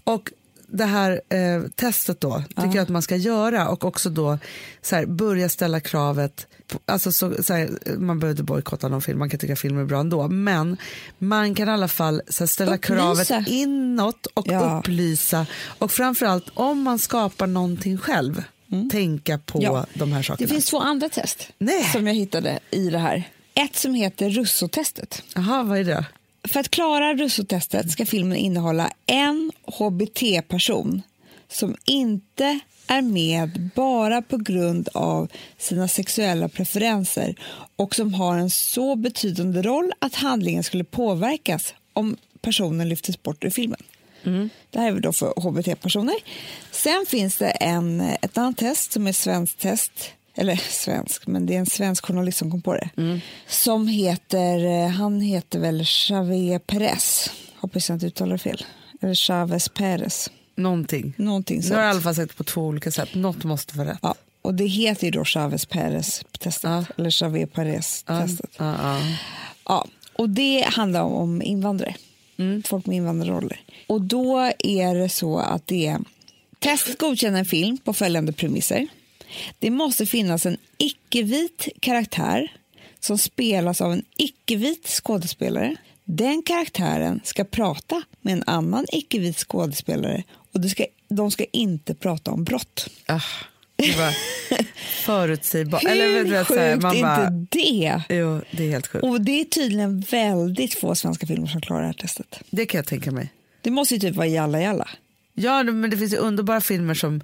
Speaker 1: Och det här eh, testet då tycker jag att man ska göra och också då så här, börja ställa kravet, på, alltså så, så här, man behöver inte bojkotta någon film, man kan tycka filmer är bra ändå, men man kan i alla fall så här, ställa
Speaker 3: Upplysa.
Speaker 1: kravet inåt och
Speaker 3: Ja.
Speaker 1: upplysa och framförallt om man skapar någonting själv tänka på
Speaker 3: Mm. Ja.
Speaker 1: de här
Speaker 3: Det
Speaker 1: sakerna.
Speaker 3: finns två andra test
Speaker 1: Nej.
Speaker 3: som jag hittade i det här. Ett som heter russotestet.
Speaker 1: Jaha, vad är det?
Speaker 3: För att klara russotestet ska filmen innehålla en hbt-person som inte är med bara på grund av sina sexuella preferenser och som har en så betydande roll att handlingen skulle påverkas om personen lyftes bort ur filmen. Det här är väl då för hbt-personer. Sen finns det en, ett annat test som är svenskt test. Eller svensk, men det är en svensk journalist som kom på det.
Speaker 1: Mm.
Speaker 3: Som heter, eh, han heter väl Javier Perez. Hoppas jag inte uttalar fel. Eller Chavez Perez.
Speaker 1: Någonting.
Speaker 3: Någonting
Speaker 1: Nu har jag i alla
Speaker 3: sånt.
Speaker 1: fall sagt på två olika sätt, något måste vara rätt.
Speaker 3: Ja, och det heter ju då Chavez Perez-testet.
Speaker 1: Ja. Ah,
Speaker 3: Eller Javier Perez-testet.
Speaker 1: Ja, ja.
Speaker 3: Ja, Och det handlar om, om invandrare.
Speaker 1: Mm.
Speaker 3: Folk med invandrarroller. Och då är det så att det är testet godkänner en film på följande premisser. Det måste finnas en icke-vit karaktär som spelas av en icke-vit skådespelare. Den karaktären ska prata med en annan icke-vit skådespelare och det ska, de ska inte prata om brott.
Speaker 1: Ah, det var förutsägbart.
Speaker 3: Hur
Speaker 1: Eller, du vet, så här,
Speaker 3: sjukt
Speaker 1: man
Speaker 3: är
Speaker 1: bara,
Speaker 3: inte det?
Speaker 1: Jo, det är helt sjukt.
Speaker 3: Och det är tydligen väldigt få svenska filmer som klarar det här testet.
Speaker 1: Det kan jag tänka mig.
Speaker 3: Det måste ju typ vara Jalla Jalla.
Speaker 1: Ja, men det finns ju underbara filmer som,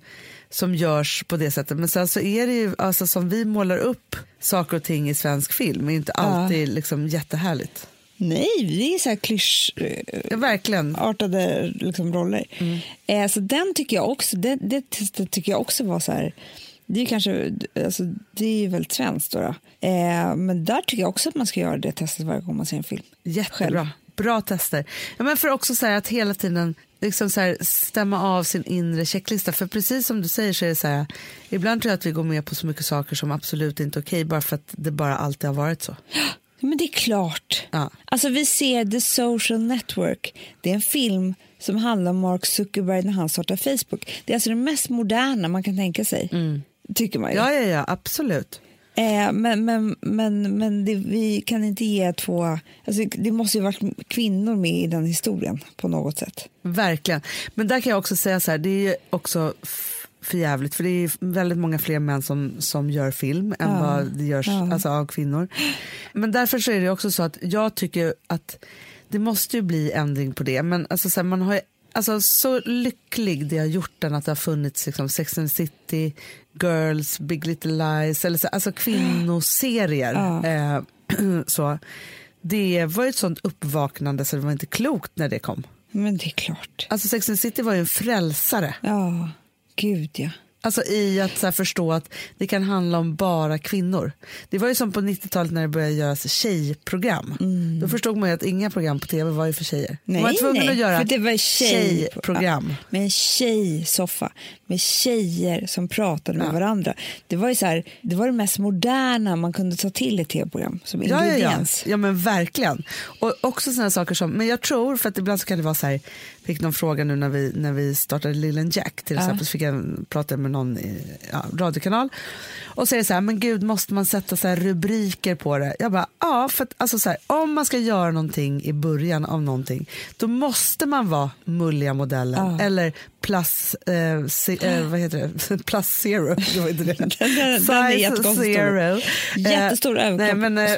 Speaker 1: som görs på det sättet. Men sen så är det ju, alltså som vi målar upp saker och ting i svensk film, är ju inte alltid liksom jättehärligt.
Speaker 3: Nej, det är så här klyschartade
Speaker 1: Ja, verkligen.
Speaker 3: liksom, roller. Eh, så den tycker jag också, det, det testet tycker jag också var så här, det är ju kanske, alltså, det är ju väldigt svenskt då. då. Eh, men där tycker jag också att man ska göra det testet varje gång man ser en film.
Speaker 1: Jättebra. Bra tester. Ja, men för också så här att hela tiden liksom så här stämma av sin inre checklista. För precis som du säger så är det så här, ibland tror jag att vi går med på så mycket saker som absolut inte är okej bara för att det bara alltid har varit så.
Speaker 3: Ja, Men det är klart.
Speaker 1: Ja.
Speaker 3: Alltså vi ser The Social Network. Det är en film som handlar om Mark Zuckerberg när han startar Facebook. Det är alltså det mest moderna man kan tänka sig. Tycker man ju.
Speaker 1: Ja, ja, ja, absolut.
Speaker 3: Eh, men men, men, men det, vi kan inte ge två... Alltså, det måste ju varit kvinnor med i den historien på något sätt.
Speaker 1: Verkligen. Men där kan jag också säga så här, det är ju också f- för jävligt för det är ju väldigt många fler män som, som gör film än vad det görs alltså, av kvinnor. Men därför så är det också så att jag tycker att det måste ju bli ändring på det. Men alltså, så här, man har ju, alltså, så lycklig det har gjort den att det har funnits liksom, Sex and the City, Girls, Big Little Lies, eller så, alltså kvinnoserier. Eh, så. Det var ju ett sånt uppvaknande så det var inte klokt när det kom.
Speaker 3: Men det är klart.
Speaker 1: Alltså Sex and the City var ju en frälsare.
Speaker 3: Ja, gud ja.
Speaker 1: Alltså i att så här förstå att det kan handla om bara kvinnor. Det var ju som på 90-talet när det började göras tjejprogram. Då förstod man ju att inga program på tv var ju för tjejer.
Speaker 3: Mm. Nej,
Speaker 1: man var tvungen
Speaker 3: nej,
Speaker 1: att göra
Speaker 3: för det var tjej-
Speaker 1: tjejprogram.
Speaker 3: Ja, med en tjejsoffa, med tjejer som pratade med varandra. Det var ju så här, det var det mest moderna man kunde ta till i ett tv-program som
Speaker 1: Ja, ja, ja.
Speaker 3: ingrediens.
Speaker 1: ja, men verkligen. Och också sådana saker som, men jag tror, för att ibland så kan det vara så här, fick någon fråga nu när vi, när vi startade Lillen Jack till exempel, så fick jag prata med någon i, ja, radiokanal och så är det så här, men gud måste man sätta så här rubriker på det? Jag bara, ja, för att alltså så här, om man ska göra någonting i början av någonting, då måste man vara mulliga modellen eller plus, eh, se, eh, vad heter det, plus zero, det var inte det.
Speaker 3: Den- den är
Speaker 1: Size
Speaker 3: jättekonstig.
Speaker 1: zero.
Speaker 3: Jättestor
Speaker 1: Eh,
Speaker 3: överkropp.
Speaker 1: Nej, men,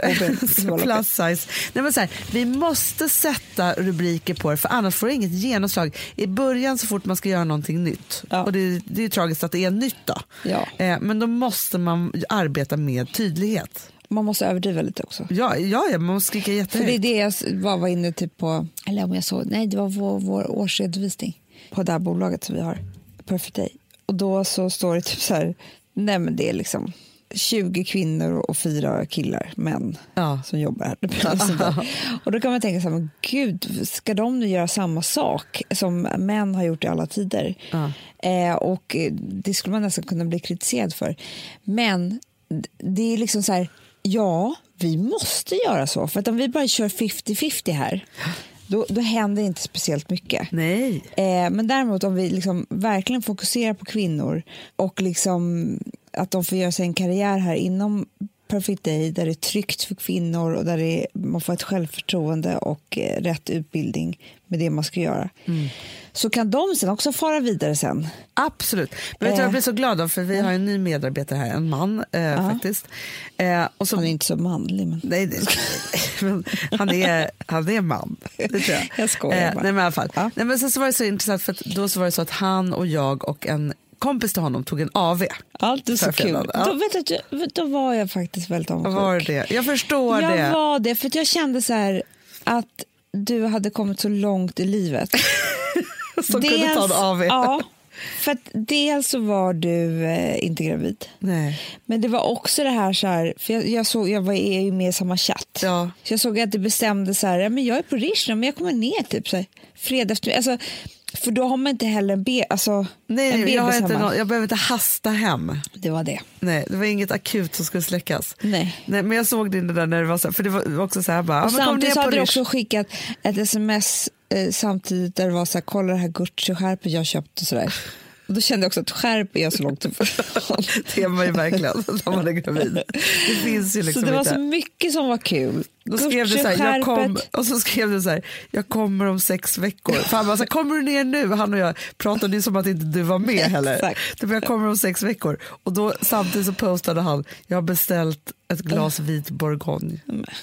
Speaker 3: Små ben.
Speaker 1: eh, plus size. Nej, men så här, vi måste sätta rubriker på det för annars får det inget genomslag. I början så fort man ska göra någonting nytt,
Speaker 3: Ja.
Speaker 1: och det, är- det är ju tragiskt att det är nytt då,
Speaker 3: Ja.
Speaker 1: eh, men då måste man arbeta med tydlighet.
Speaker 3: Man måste överdriva lite också.
Speaker 1: Ja, ja, ja man måste skrika
Speaker 3: För det är
Speaker 1: jättehögt.
Speaker 3: det jag s- var, var inne typ på, eller om jag såg, nej det var vår, vår årsredovisning på det här bolaget som vi har, Perfect Day. Och då så står det typ så här, nej men det är liksom 20 kvinnor och fyra killar, män,
Speaker 1: Ja.
Speaker 3: som jobbar här. Och sånt där. och då kan man tänka så här, men gud, ska de nu göra samma sak som män har gjort i alla tider?
Speaker 1: Ja.
Speaker 3: Eh, och eh, det skulle man nästan kunna bli kritiserad för. Men d- det är liksom så här, ja, vi måste göra så. För att om vi bara kör 50-50 här, då, då händer inte speciellt mycket.
Speaker 1: Nej,
Speaker 3: Eh, men däremot om vi liksom verkligen fokuserar på kvinnor och liksom att de får göra sig en karriär här inom Perfect Day där det är tryggt för kvinnor och där det är, man får ett självförtroende och eh, rätt utbildning med det man ska göra. Så kan de sen också fara vidare sen.
Speaker 1: absolut. Men vet du,
Speaker 3: Eh.
Speaker 1: jag blir så glad av, för vi har en ny medarbetare här, en man eh, faktiskt. Eh, och
Speaker 3: Han
Speaker 1: som,
Speaker 3: är inte så manlig men...
Speaker 1: Nej, det, men han, är, han är man. Det tror jag. Eh,
Speaker 3: Jag skojar bara.
Speaker 1: nej, men i alla fall.
Speaker 3: Ja.
Speaker 1: Nej, men sen så var det så intressant för att då så var det så att han och jag och en kompis till honom tog en AV.
Speaker 3: Ja, det är så kul.
Speaker 1: Förfredad, ja.
Speaker 3: Då, vet du, då var jag faktiskt väldigt avundsjuk.
Speaker 1: Var det? Jag förstår
Speaker 3: jag
Speaker 1: det.
Speaker 3: var det, för att jag kände så här att du hade kommit så långt i livet.
Speaker 1: Som kunde ta en AV.
Speaker 3: Ja, för att dels så var du eh, inte gravid.
Speaker 1: Nej.
Speaker 3: Men det var också det här, så här för jag, jag, såg, jag var är ju med i samma chatt.
Speaker 1: Ja.
Speaker 3: Så jag såg att det bestämde så här, ja, men jag är på Rishna men jag kommer ner typ så här, fredag efter, alltså, För då har man inte heller en, be, alltså, en
Speaker 1: Nej,
Speaker 3: bebis
Speaker 1: jag, har inte
Speaker 3: hemma.
Speaker 1: någon, jag behöver inte hasta hem.
Speaker 3: Det var det.
Speaker 1: Nej, det var inget akut som skulle släckas.
Speaker 3: Nej.
Speaker 1: Nej, men jag såg din det där när det var så, för det var också så här bara, ja,
Speaker 3: Och
Speaker 1: men kom ner
Speaker 3: samtidigt så
Speaker 1: på
Speaker 3: hade du
Speaker 1: Rish.
Speaker 3: också skickat ett sms eh, samtidigt där det var så här, kolla det här Gucci-skärpet jag köpt och sådär. Och då kände jag också att skärp är jag så långt ifrån.
Speaker 1: Det var ju verkligen när man är gravid. Det finns ju liksom
Speaker 3: så det var
Speaker 1: inte.
Speaker 3: så mycket som var kul.
Speaker 1: Då skrev du så här, jag kom, och så skrev du så här, jag kommer om sex veckor. För han bara, så här, kommer du ner nu? Han och jag pratade ju som att inte du var med heller.
Speaker 3: Exakt.
Speaker 1: Du bara, jag kommer om sex veckor. Och då samtidigt så postade han, jag har beställt ett glas vit bourgogne.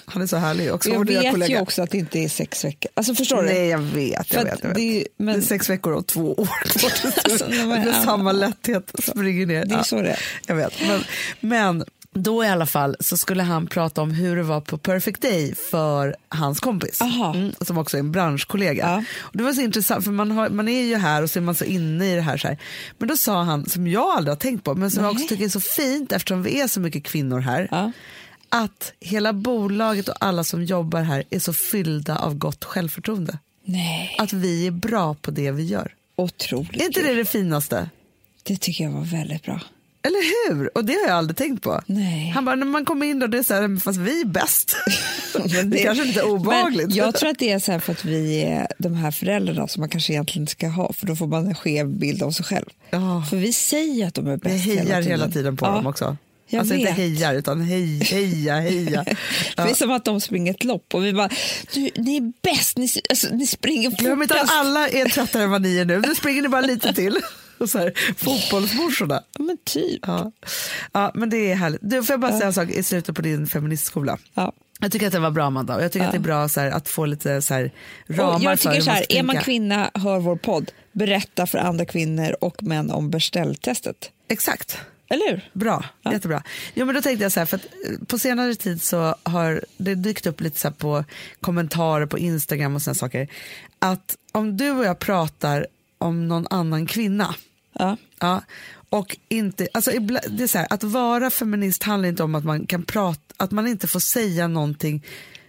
Speaker 1: Han är så härlig också. vår
Speaker 3: Mm. Jag
Speaker 1: nya
Speaker 3: vet ju
Speaker 1: kollega.
Speaker 3: också att det inte är sex veckor. Alltså förstår du?
Speaker 1: Nej jag vet,
Speaker 3: För
Speaker 1: jag
Speaker 3: att
Speaker 1: vet. Jag vet.
Speaker 3: det är ju- men-
Speaker 1: Det är sex veckor och två år kvar tills
Speaker 3: Alltså,
Speaker 1: du
Speaker 3: det var-
Speaker 1: med samma lätthet springer ner.
Speaker 3: Det är
Speaker 1: Ja.
Speaker 3: så det är.
Speaker 1: Jag vet. Men, men då i alla fall så skulle han prata om hur det var på Perfect Day för hans kompis.
Speaker 3: Aha.
Speaker 1: Mm, som också är en branschkollega.
Speaker 3: Ja.
Speaker 1: Och det var så intressant för man, har, man är ju här och så är man så inne i det här, så här. Men då sa han, som jag aldrig har tänkt på, men som jag
Speaker 3: Nej.
Speaker 1: också tycker är så fint eftersom vi är så mycket kvinnor här.
Speaker 3: Ja.
Speaker 1: Att hela bolaget och alla som jobbar här är så fyllda av gott självförtroende.
Speaker 3: Nej,
Speaker 1: Att vi är bra på det vi gör.
Speaker 3: otroligt
Speaker 1: Är inte
Speaker 3: kul.
Speaker 1: det det finaste?
Speaker 3: Det tycker jag var väldigt bra.
Speaker 1: Eller hur? Och det har jag aldrig tänkt på.
Speaker 3: Nej.
Speaker 1: Han bara, när man kommer in då, det är så här, fast vi är bäst. det, kanske inte är obehagligt.
Speaker 3: Men jag tror att det är så här för att vi är de här föräldrarna som man kanske egentligen inte ska ha för då får man en skev bild av sig själv.
Speaker 1: Ja.
Speaker 3: För vi säger att de är
Speaker 1: Jag
Speaker 3: bäst
Speaker 1: hejar hela tiden, på
Speaker 3: Ja.
Speaker 1: dem också.
Speaker 3: Jag
Speaker 1: alltså inte
Speaker 3: vet.
Speaker 1: hejar, utan hej, heja, heja.
Speaker 3: Det är
Speaker 1: ja.
Speaker 3: som att de springer ett lopp och vi bara, du, ni är bäst, ni, alltså, ni springer
Speaker 1: Glöm inte att
Speaker 3: fortast.
Speaker 1: alla är tröttare än vad ni är nu. Nu springer ni bara lite till. Och så här, fotbollsmorsorna.
Speaker 3: Ja, men typ.
Speaker 1: Ja. ja, men det är härligt. Du, får jag bara säga en sak i slutet på din feministskola?
Speaker 3: Ja.
Speaker 1: Jag tycker att det var bra Amanda och jag tycker att det är bra så här, att få lite så här, ramar
Speaker 3: Och jag
Speaker 1: för
Speaker 3: tycker
Speaker 1: hur
Speaker 3: så här,
Speaker 1: ska
Speaker 3: är man
Speaker 1: tänka.
Speaker 3: kvinna, hör vår podd, berätta för andra kvinnor och män om beställtestet.
Speaker 1: Exakt.
Speaker 3: Eller hur?
Speaker 1: Bra, jättebra. Jo, men då tänkte jag så här, för att eh, på senare tid så har det dykt upp lite så här på kommentarer på Instagram och såna saker, att om du och jag pratar om någon annan kvinna,
Speaker 3: Ja.
Speaker 1: ja, och inte, alltså ibla- det är så här, att vara feminist handlar inte om att man kan prata, att man inte får säga någonting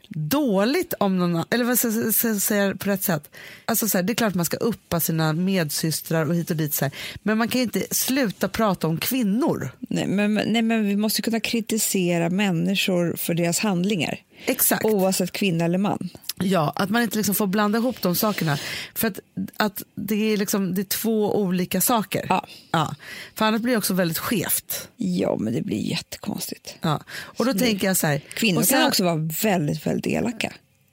Speaker 1: dåligt om någon annan, eller vad ska jag ska jag säga på rätt sätt? Alltså så här, det är klart man ska uppa sina medsystrar och hit och dit så här, men man kan inte sluta prata om kvinnor.
Speaker 3: Nej, men, men- nej, men vi måste kunna kritisera människor för deras handlingar.
Speaker 1: Exakt.
Speaker 3: Oavsett kvinna eller man.
Speaker 1: Ja, att man inte liksom får blanda ihop de sakerna. För att, att det, är liksom, det är två olika saker.
Speaker 3: Ja.
Speaker 1: För annars blir det också väldigt skevt.
Speaker 3: Ja, men det blir jättekonstigt.
Speaker 1: Ja. Och då tänker jag så här.
Speaker 3: Kvinnor
Speaker 1: och sen,
Speaker 3: kan också vara väldigt, väldigt elaka.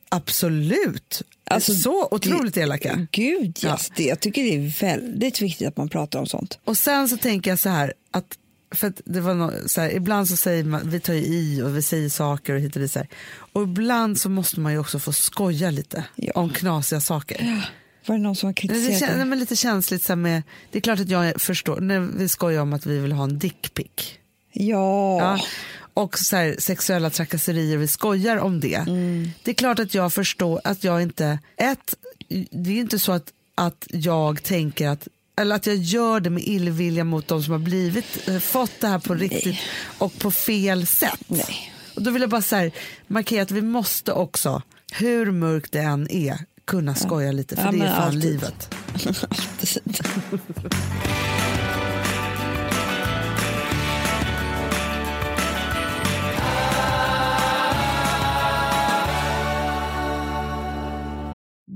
Speaker 1: Absolut.
Speaker 3: Alltså,
Speaker 1: så otroligt elaka.
Speaker 3: Gud,
Speaker 1: Ja.
Speaker 3: yes, det, jag tycker det är väldigt viktigt att man pratar om sånt.
Speaker 1: Och sen så tänker jag så här. Att, för att det var nå- så här, ibland så säger man, vi tar ju i och vi säger saker och hit och dit. Så här. Och ibland så måste man ju också få skoja lite
Speaker 3: Ja.
Speaker 1: om knasiga saker.
Speaker 3: Var det någon som har
Speaker 1: Nej, Det
Speaker 3: kritiserat
Speaker 1: känns
Speaker 3: det?
Speaker 1: nej, men lite känsligt. Så här med, det är klart att jag förstår. När vi skojar om att vi vill ha en dickpic.
Speaker 3: Ja.
Speaker 1: Ja. Och så här, sexuella trakasserier, vi skojar om det.
Speaker 3: Mm.
Speaker 1: Det är klart att jag förstår att jag inte... Ett, det är ju inte så att, att jag tänker att eller att jag gör det med illvilja mot de som har blivit, eh, fått det här på riktigt och på fel sätt.
Speaker 3: Nej.
Speaker 1: Och då vill jag bara så här, markera att vi måste också, hur mörkt det än är, kunna skoja lite. För
Speaker 3: Ja,
Speaker 1: det är
Speaker 3: men
Speaker 1: fan
Speaker 3: alltid.
Speaker 1: livet.
Speaker 3: Precis.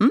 Speaker 4: Mm.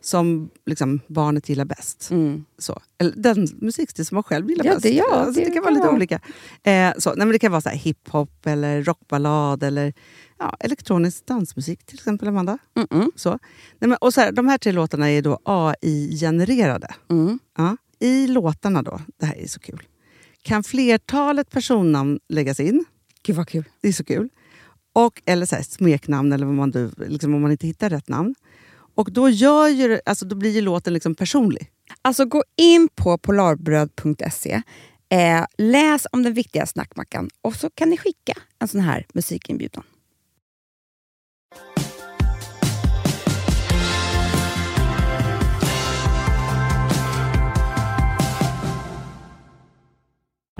Speaker 2: som liksom, barnet gillar bäst.
Speaker 4: Mm.
Speaker 2: Så. Eller den musikstil som man själv gillar
Speaker 4: Ja,
Speaker 2: bäst.
Speaker 4: det- ja,
Speaker 2: alltså, det,
Speaker 4: det
Speaker 2: kan vara lite
Speaker 4: kan vara.
Speaker 2: olika. Eh, så. Nej, men det kan vara så här hiphop, eller rockballad eller ja, elektronisk dansmusik till exempel, Amanda. Så. Nej, men, och så här, de här tre låtarna är då AI-genererade.
Speaker 4: Mm.
Speaker 2: Ja. I låtarna då, det här är så kul, kan flertalet personnamn läggas in.
Speaker 4: Gud vad kul.
Speaker 2: Det är så kul. Och, eller så här, smeknamn, eller vad man, du- liksom, om man inte hittar rätt namn. Och då, gör ju, det- alltså, då blir ju låten liksom personlig.
Speaker 4: Alltså gå in på polarbröd.se, eh, läs om den viktiga snackmackan och så kan ni skicka en sån här musikinbjudan.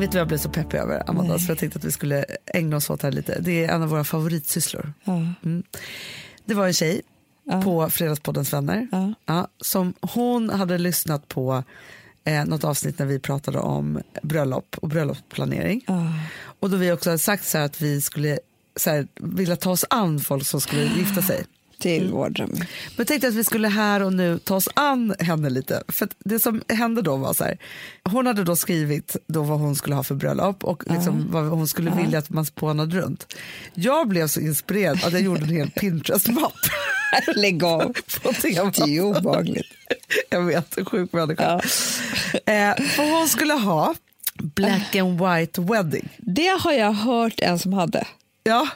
Speaker 1: Vet du vad jag blev så peppig över, Amanda?
Speaker 3: Nej.
Speaker 1: För jag tänkte att vi skulle ägna oss åt det här lite. Det är en av våra favoritsysslor.
Speaker 3: Ja.
Speaker 1: Det var en tjej
Speaker 3: Ja.
Speaker 1: på Fredagspoddens vänner
Speaker 3: Ja.
Speaker 1: ja, som hon hade lyssnat på eh, något avsnitt när vi pratade om bröllop och bröllopsplanering. Och då vi också hade sagt så här att vi skulle så här, vilja ta oss an folk som skulle gifta sig.
Speaker 3: Till
Speaker 4: Mm.
Speaker 3: vår dröm.
Speaker 1: Men jag tänkte att vi skulle här och nu ta oss an henne lite. För att det som hände då var så här. Hon hade då skrivit då vad hon skulle ha för bröllop och liksom vad hon skulle vilja att man spånade runt. Jag blev så inspirerad att jag gjorde en hel Pinterest-mapp
Speaker 3: Lägg av.
Speaker 1: på temat.
Speaker 3: Det är ju obehagligt.
Speaker 1: Jag vet, en sjuk människa.
Speaker 3: Ja.
Speaker 1: Eh, för hon skulle ha black and white wedding.
Speaker 3: Det har jag hört en som hade.
Speaker 1: Ja,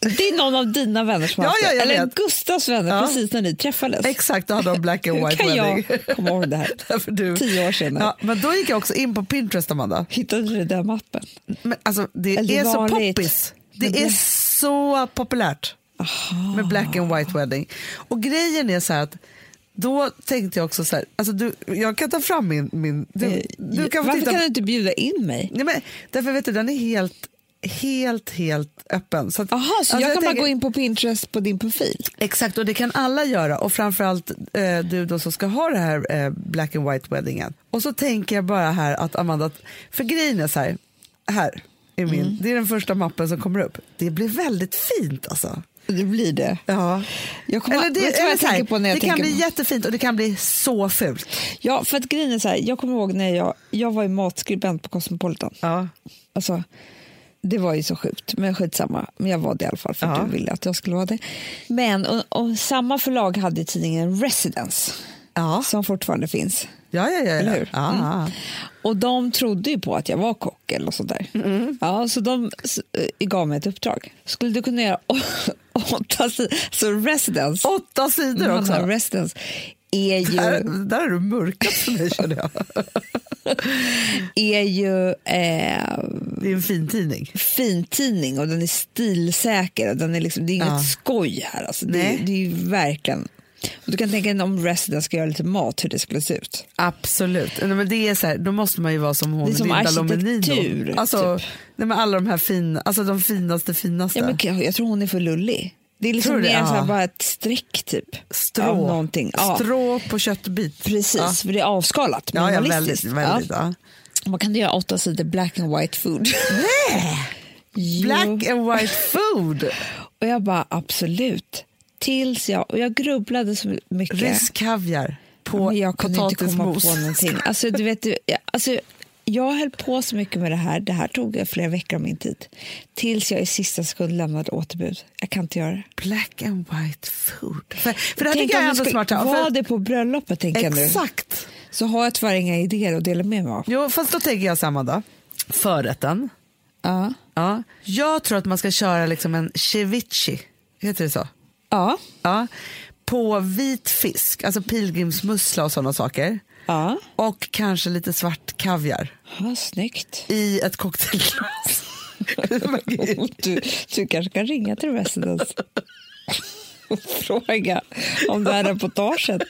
Speaker 3: Det är någon av dina vänner som
Speaker 1: Ja,
Speaker 3: haft
Speaker 1: ja,
Speaker 3: det.
Speaker 1: jag
Speaker 3: Eller
Speaker 1: vet.
Speaker 3: Gustavs vänner,
Speaker 1: Ja.
Speaker 3: precis när ni träffades.
Speaker 1: exakt, då hade hon black and
Speaker 3: Hur
Speaker 1: white
Speaker 3: kan
Speaker 1: wedding.
Speaker 3: jag komma ihåg det här?
Speaker 1: Därför du.
Speaker 3: Tio år senare.
Speaker 1: Ja, men då gick jag också in på Pinterest, Amanda.
Speaker 3: Hittade du den där mappen?
Speaker 1: Men alltså, det
Speaker 3: Eller det
Speaker 1: är så
Speaker 3: vanligt.
Speaker 1: poppis. Det
Speaker 3: Men det-
Speaker 1: är så populärt med black and
Speaker 3: Ah.
Speaker 1: white wedding. Och grejen är så här att då tänkte jag också så här, alltså du, jag kan ta fram min, min du, du kan få
Speaker 3: Eh, Varför
Speaker 1: titta.
Speaker 3: kan du inte bjuda in mig?
Speaker 1: Nej, men, därför vet du, den är helt helt, helt öppen. Så att,
Speaker 3: Jaha, så
Speaker 1: Alltså,
Speaker 3: jag,
Speaker 1: jag
Speaker 3: kan bara
Speaker 1: tänker-
Speaker 3: gå in på Pinterest på din profil?
Speaker 1: Exakt, och det kan alla göra. Och framförallt eh, du då som ska ha det här eh, black and white weddingen. Och så tänker jag bara här att Amanda, för grejen är så här, här är min, det är den första mappen som kommer upp. Det blir väldigt fint alltså.
Speaker 3: Det blir det.
Speaker 1: Ja.
Speaker 3: Jag kommer,
Speaker 1: eller det,
Speaker 3: vet du vad
Speaker 1: eller
Speaker 3: jag
Speaker 1: så här,
Speaker 3: tänker på när jag
Speaker 1: det
Speaker 3: tänker
Speaker 1: kan bli
Speaker 3: på-
Speaker 1: jättefint och det kan bli så fult.
Speaker 3: Ja, för att grejen är så här, jag kommer ihåg när jag, jag var ju matskribent på Cosmopolitan.
Speaker 1: Ja.
Speaker 3: Alltså, det var ju så sjukt, men skitsamma. Men jag var det i alla fall, för
Speaker 1: Ja.
Speaker 3: att du ville att jag skulle vara det. Men och, och samma förlag hade ju tidningen Residence,
Speaker 1: Ja.
Speaker 3: som fortfarande finns.
Speaker 1: Ja, ja, Ah. ja.
Speaker 3: Eller
Speaker 1: ja.
Speaker 3: hur?
Speaker 1: ja.
Speaker 3: Mm. Och de trodde ju på att jag var kock eller något sånt där. Ja, så de s- eh, gav mig ett uppdrag. Skulle du kunna göra å- åtta sidor? Så Residence,
Speaker 1: Åtta sidor
Speaker 3: han
Speaker 1: också.
Speaker 3: har residence är
Speaker 1: Där,
Speaker 3: ju,
Speaker 1: där är du mörkat för mig känner jag.
Speaker 3: är ju eh,
Speaker 1: Det är en fin tidning.
Speaker 3: fintidning och den är stilsäker. Och den är liksom, det är inget skoj här. Alltså, det,
Speaker 1: Nej.
Speaker 3: är- det är ju verkligen... Och du kan tänka dig om Residence ska göra lite mat, hur det skulle se ut.
Speaker 1: Absolut. Nej, men det är så här, då måste man ju vara som hon,
Speaker 3: Det är som
Speaker 1: Linda
Speaker 3: arkitektur,
Speaker 1: Lomenino. Alltså,
Speaker 3: typ.
Speaker 1: nej, men alla de här fina, alltså de finaste finaste.
Speaker 3: Ja, men jag, jag tror hon är för lullig. Det är liksom
Speaker 1: Tror du
Speaker 3: mer
Speaker 1: det?
Speaker 3: så här,
Speaker 1: Ja.
Speaker 3: bara ett streck typ.
Speaker 1: Strå.
Speaker 3: Av någonting. Ja,
Speaker 1: Strå på köttbit.
Speaker 3: precis,
Speaker 1: Ja.
Speaker 3: för det är avskalat.
Speaker 1: Ja, ja, väldigt,
Speaker 3: minimalistiskt.
Speaker 1: väldigt. Ja.
Speaker 3: Ja. Man kan ju göra åtta sidor black and white food. Nej!
Speaker 1: Black and white food.
Speaker 3: Och jag bara absolut. Tills jag, och jag grubblade så mycket.
Speaker 1: Rysk kaviar på
Speaker 3: men jag kunde inte komma
Speaker 1: potatismos.
Speaker 3: på någonting. Alltså, du vet, du- jag- alltså, jag höll på så mycket med det här. Det här tog flera veckor av min tid. Tills jag i sista sekund lämnade återbud. Jag kan inte göra det.
Speaker 1: Black and white food. För, för det här
Speaker 3: Tänk
Speaker 1: tycker jag
Speaker 3: om
Speaker 1: är
Speaker 3: vi
Speaker 1: ändå
Speaker 3: skulle
Speaker 1: smart. ja,
Speaker 3: Var
Speaker 1: För,
Speaker 3: det på bröllopet tänker jag nu.
Speaker 1: exakt.
Speaker 3: Så har jag tyvärr inga idéer att dela med mig av.
Speaker 1: Jo, fast då tänker jag samma dag. Förrätten.
Speaker 3: Ja.
Speaker 1: Ja. Jag tror att man ska köra liksom en ceviche. Heter det så?
Speaker 3: Ja.
Speaker 1: Ja. På vit fisk, alltså pilgrimsmussla och sådana saker.
Speaker 3: Ja.
Speaker 1: Och kanske lite svart kaviar
Speaker 3: ja snyggt.
Speaker 1: i ett cocktailglas.
Speaker 3: Du, du kanske kan ringa till Residence och fråga om det här reportaget.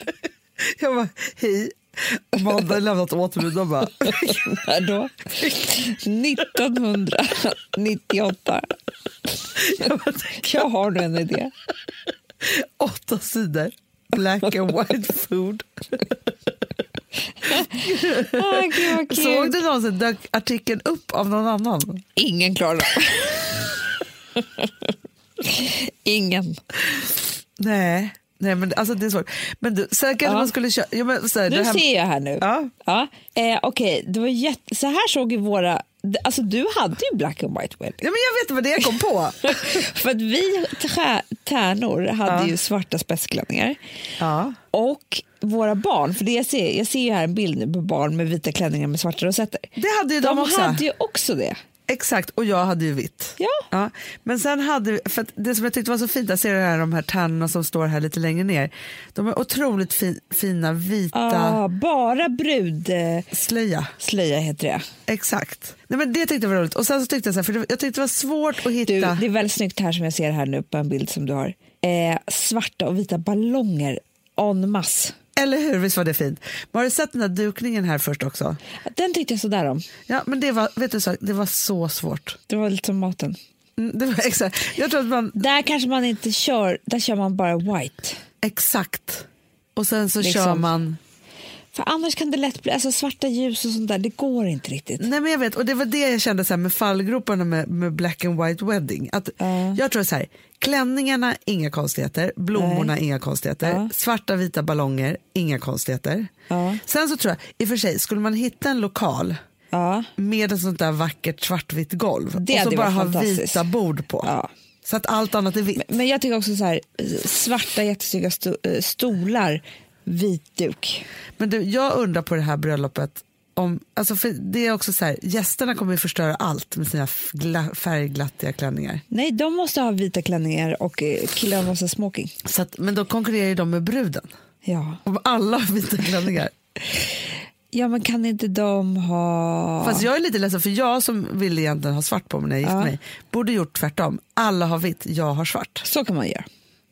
Speaker 1: Jag bara, hej. Amanda har lämnat återbud. De bara,
Speaker 3: När då? 1998. Jag har nu en idé.
Speaker 1: åtta sidor. Black and white food.
Speaker 3: Ah, gud, vad
Speaker 1: Såg
Speaker 3: kul.
Speaker 1: du någonsin dök artikeln upp av någon annan?
Speaker 3: Ingen klarar det. Ingen.
Speaker 1: Nej, nej men alltså det är svårt. Men du, sen kanske
Speaker 3: Ja.
Speaker 1: man skulle köra... Ja, men, så här,
Speaker 3: Nu
Speaker 1: det här,
Speaker 3: ser jag här nu.
Speaker 1: Ja.
Speaker 3: Ja. Eh, Okej, det var jätte... så här såg ju våra... Alltså du hade ju black and white wedding.
Speaker 1: ja, men jag vet vad det jag kom på.
Speaker 3: För att vi trä- tärnor hade ju svarta spetsklänningar.
Speaker 1: ja.
Speaker 3: Och våra barn, för det jag ser, jag ser ju här en bild nu på barn med vita klänningar med svarta rosetter.
Speaker 1: Det hade ju de, också.
Speaker 3: hade ju också det.
Speaker 1: Exakt, och jag hade ju vitt.
Speaker 3: Ja.
Speaker 1: Men sen hade vi, för att det som jag tyckte var så fint, jag ser det här, de här tärnorna som står här lite längre ner. De är otroligt fi, fina vita
Speaker 3: Ah, bara brudslöja
Speaker 1: slöja.
Speaker 3: heter det.
Speaker 1: Exakt. Nej, men det tyckte jag var roligt. Och sen så tyckte jag så här, för det, jag tyckte det var svårt att
Speaker 3: Du,
Speaker 1: hitta.
Speaker 3: det är väldigt snyggt här som jag ser här nu på en bild som du har. Eh, svarta och vita ballonger en masse.
Speaker 1: Eller hur, visst var det fint? Men har du sett den där dukningen här först också?
Speaker 3: Den tyckte jag sådär om.
Speaker 1: Ja, men det var, vet du, så, det var så svårt.
Speaker 3: Det var lite som maten.
Speaker 1: Mm, Det var exakt. Jag tror att man,
Speaker 3: Där kanske man inte kör, där kör man bara white.
Speaker 1: exakt. Och sen så
Speaker 3: Liksom.
Speaker 1: kör man
Speaker 3: För annars kan det lätt bli, alltså svarta ljus och sånt där, det går inte riktigt.
Speaker 1: Nej men jag vet, och det var det jag kände så här med fallgroparna med, med Black and White Wedding. Att Jag tror så här, klänningarna, inga konstigheter, blommorna, inga konstigheter, svarta vita ballonger, inga konstigheter. Sen så tror jag, i och för sig, skulle man hitta en lokal
Speaker 3: Ja.
Speaker 1: med ett sånt där vackert svartvitt golv
Speaker 3: Det
Speaker 1: och så
Speaker 3: hade
Speaker 1: bara
Speaker 3: varit
Speaker 1: ha
Speaker 3: fantastiskt.
Speaker 1: vita bord på.
Speaker 3: Ja.
Speaker 1: Så att allt annat är vitt.
Speaker 3: Men jag tycker också så här, svarta jättesnygga sto- eh, stolar, vit duk.
Speaker 1: Men du, jag undrar på det här bröllopet, om, alltså för det är också så här, gästerna kommer ju förstöra allt med sina f- gla- färgglattiga klänningar.
Speaker 3: Nej, de måste ha vita klänningar och eh, killar måste ha smoking.
Speaker 1: Så att, men då konkurrerar ju de med bruden.
Speaker 3: Ja.
Speaker 1: Om alla har vita klänningar.
Speaker 3: ja, men kan inte de ha...
Speaker 1: Fast jag är lite ledsen för jag som ville egentligen ha svart på mig när jag gifte mig borde gjort tvärtom. Alla har vitt, jag har svart.
Speaker 3: Så kan man göra.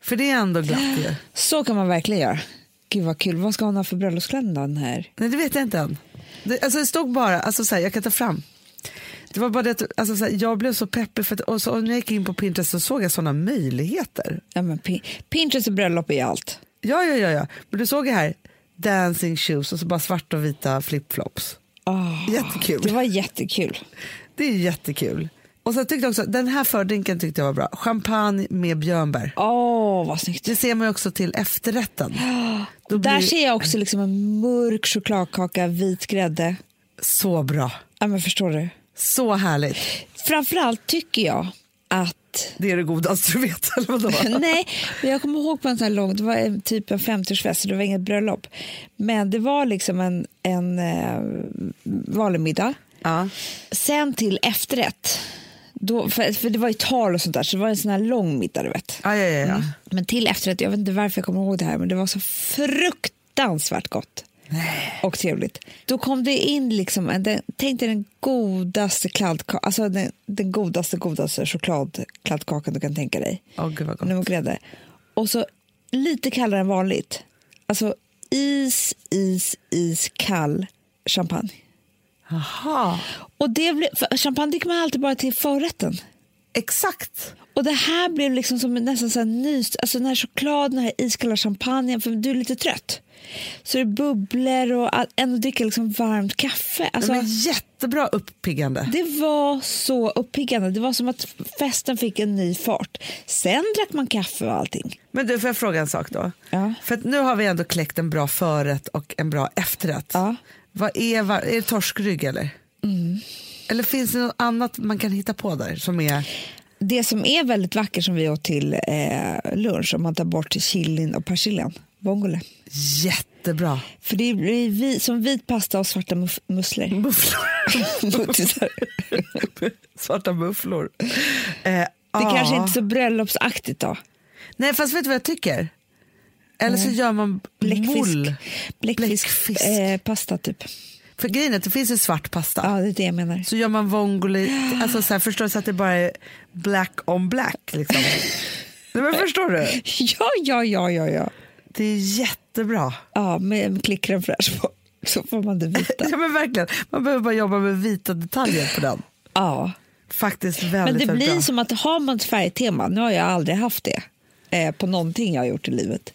Speaker 1: För det är ändå glatt ju.
Speaker 3: Så kan man verkligen göra. Gud vad kul. Vad ska hon ha för bröllopsklänning då, den här?
Speaker 1: Nej det vet jag inte än. Det, alltså det stod bara, alltså så här, jag kan ta fram. Det var bara det att alltså, så här, jag blev så peppig för att, och så, och när jag gick in på Pinterest så såg jag sådana möjligheter.
Speaker 3: Ja, men Pin- Pinterest och bröllop är allt.
Speaker 1: Ja, ja, ja, ja. Men du såg ju här, dancing shoes och så bara svarta och vita flipflops.
Speaker 3: Ah,
Speaker 1: Jättekul.
Speaker 3: Det var jättekul.
Speaker 1: Det är jättekul. Och så tyckte jag också, den här fördrinken tyckte jag var bra. Champagne med björnbär.
Speaker 3: Åh, vad snyggt.
Speaker 1: Det ser man ju också till efterrätten. Då blir
Speaker 3: Där
Speaker 1: det
Speaker 3: ser jag också liksom en mörk chokladkaka, vit grädde.
Speaker 1: så bra.
Speaker 3: Ja, men förstår du?
Speaker 1: Så härligt.
Speaker 3: Framförallt tycker jag att
Speaker 1: Det är det godaste du vet, eller vadå?
Speaker 3: Nej, men jag kommer ihåg på en sån här lång, det var en typ en 50-årsfest, så det var inget bröllop. Men det var liksom en, en eh, vanlig middag.
Speaker 1: ja.
Speaker 3: Sen till efterrätt, då, för, för det var ju tal och sånt där, så det var en sån här lång middag du vet.
Speaker 1: Ja, ja, ja,
Speaker 3: Mm.
Speaker 1: ja.
Speaker 3: Men till efterrätt, jag vet inte varför jag kommer ihåg det här, men det var så fruktansvärt gott. Och trevligt. Då kom det in liksom, en, den, tänk dig den godaste kladdkakan, alltså den, den godaste, godaste chokladkladdkakan du kan tänka dig
Speaker 1: Åh, gud vad gott.
Speaker 3: nummer grädde. Och så lite kallare än vanligt. Alltså is, is, is kall champagne.
Speaker 1: Aha.
Speaker 3: Och det blev, för champagne dricker man alltid bara till förrätten.
Speaker 1: Exakt.
Speaker 3: Och det här blev liksom som en- nästan så här nys, alltså den här chokladen, den här iskalla champagnen, för du är lite trött. Så det bubblar och all- ändå dricker liksom varmt kaffe. Alltså,
Speaker 1: Men jättebra uppiggande.
Speaker 3: Det var så uppiggande. Det var som att festen fick en ny fart. Sen drack man kaffe och allting.
Speaker 1: Men du, får jag fråga en sak då?
Speaker 3: Ja.
Speaker 1: För att nu har vi ändå kläckt en bra förrätt och en bra efterrätt.
Speaker 3: Ja. Mm.
Speaker 1: Vad är, var, är det torskrygg eller? Eller finns det något annat man kan hitta på där som är...
Speaker 3: Det som är väldigt vackert som vi åt till eh, lunch, om man tar bort chilin och persiljan, vongole.
Speaker 1: Jättebra.
Speaker 3: För det blir vi, som vit pasta och svarta muff- musslor.
Speaker 1: Mufflor.
Speaker 3: Muttisar.
Speaker 1: Svarta mufflor. Eh, det
Speaker 3: det kanske inte är så bröllopsaktigt då.
Speaker 1: Nej, fast vet du vad jag tycker? Eller så gör man
Speaker 3: Bläckfisk.
Speaker 1: mousse.
Speaker 3: Bläckfisk.
Speaker 1: Bläckfisk.
Speaker 3: Eh, pasta typ.
Speaker 1: För grejen är att det finns ju svart pasta.
Speaker 3: Ja, det är det jag menar.
Speaker 1: Så gör man vongole, alltså så här, förstår du, så att det bara är black on black liksom. Nej, men förstår du?
Speaker 3: Ja, ja, ja, ja, ja.
Speaker 1: Det är jättebra.
Speaker 3: Ja, med klickren fräsch på. Så får man det vita.
Speaker 1: Ja men verkligen, man behöver bara jobba med vita detaljer på den.
Speaker 3: Ja.
Speaker 1: Faktiskt
Speaker 3: Men
Speaker 1: väldigt,
Speaker 3: det
Speaker 1: väldigt
Speaker 3: blir
Speaker 1: bra.
Speaker 3: som att har man ett färgtema, nu har jag aldrig haft det eh, på någonting jag har gjort i livet.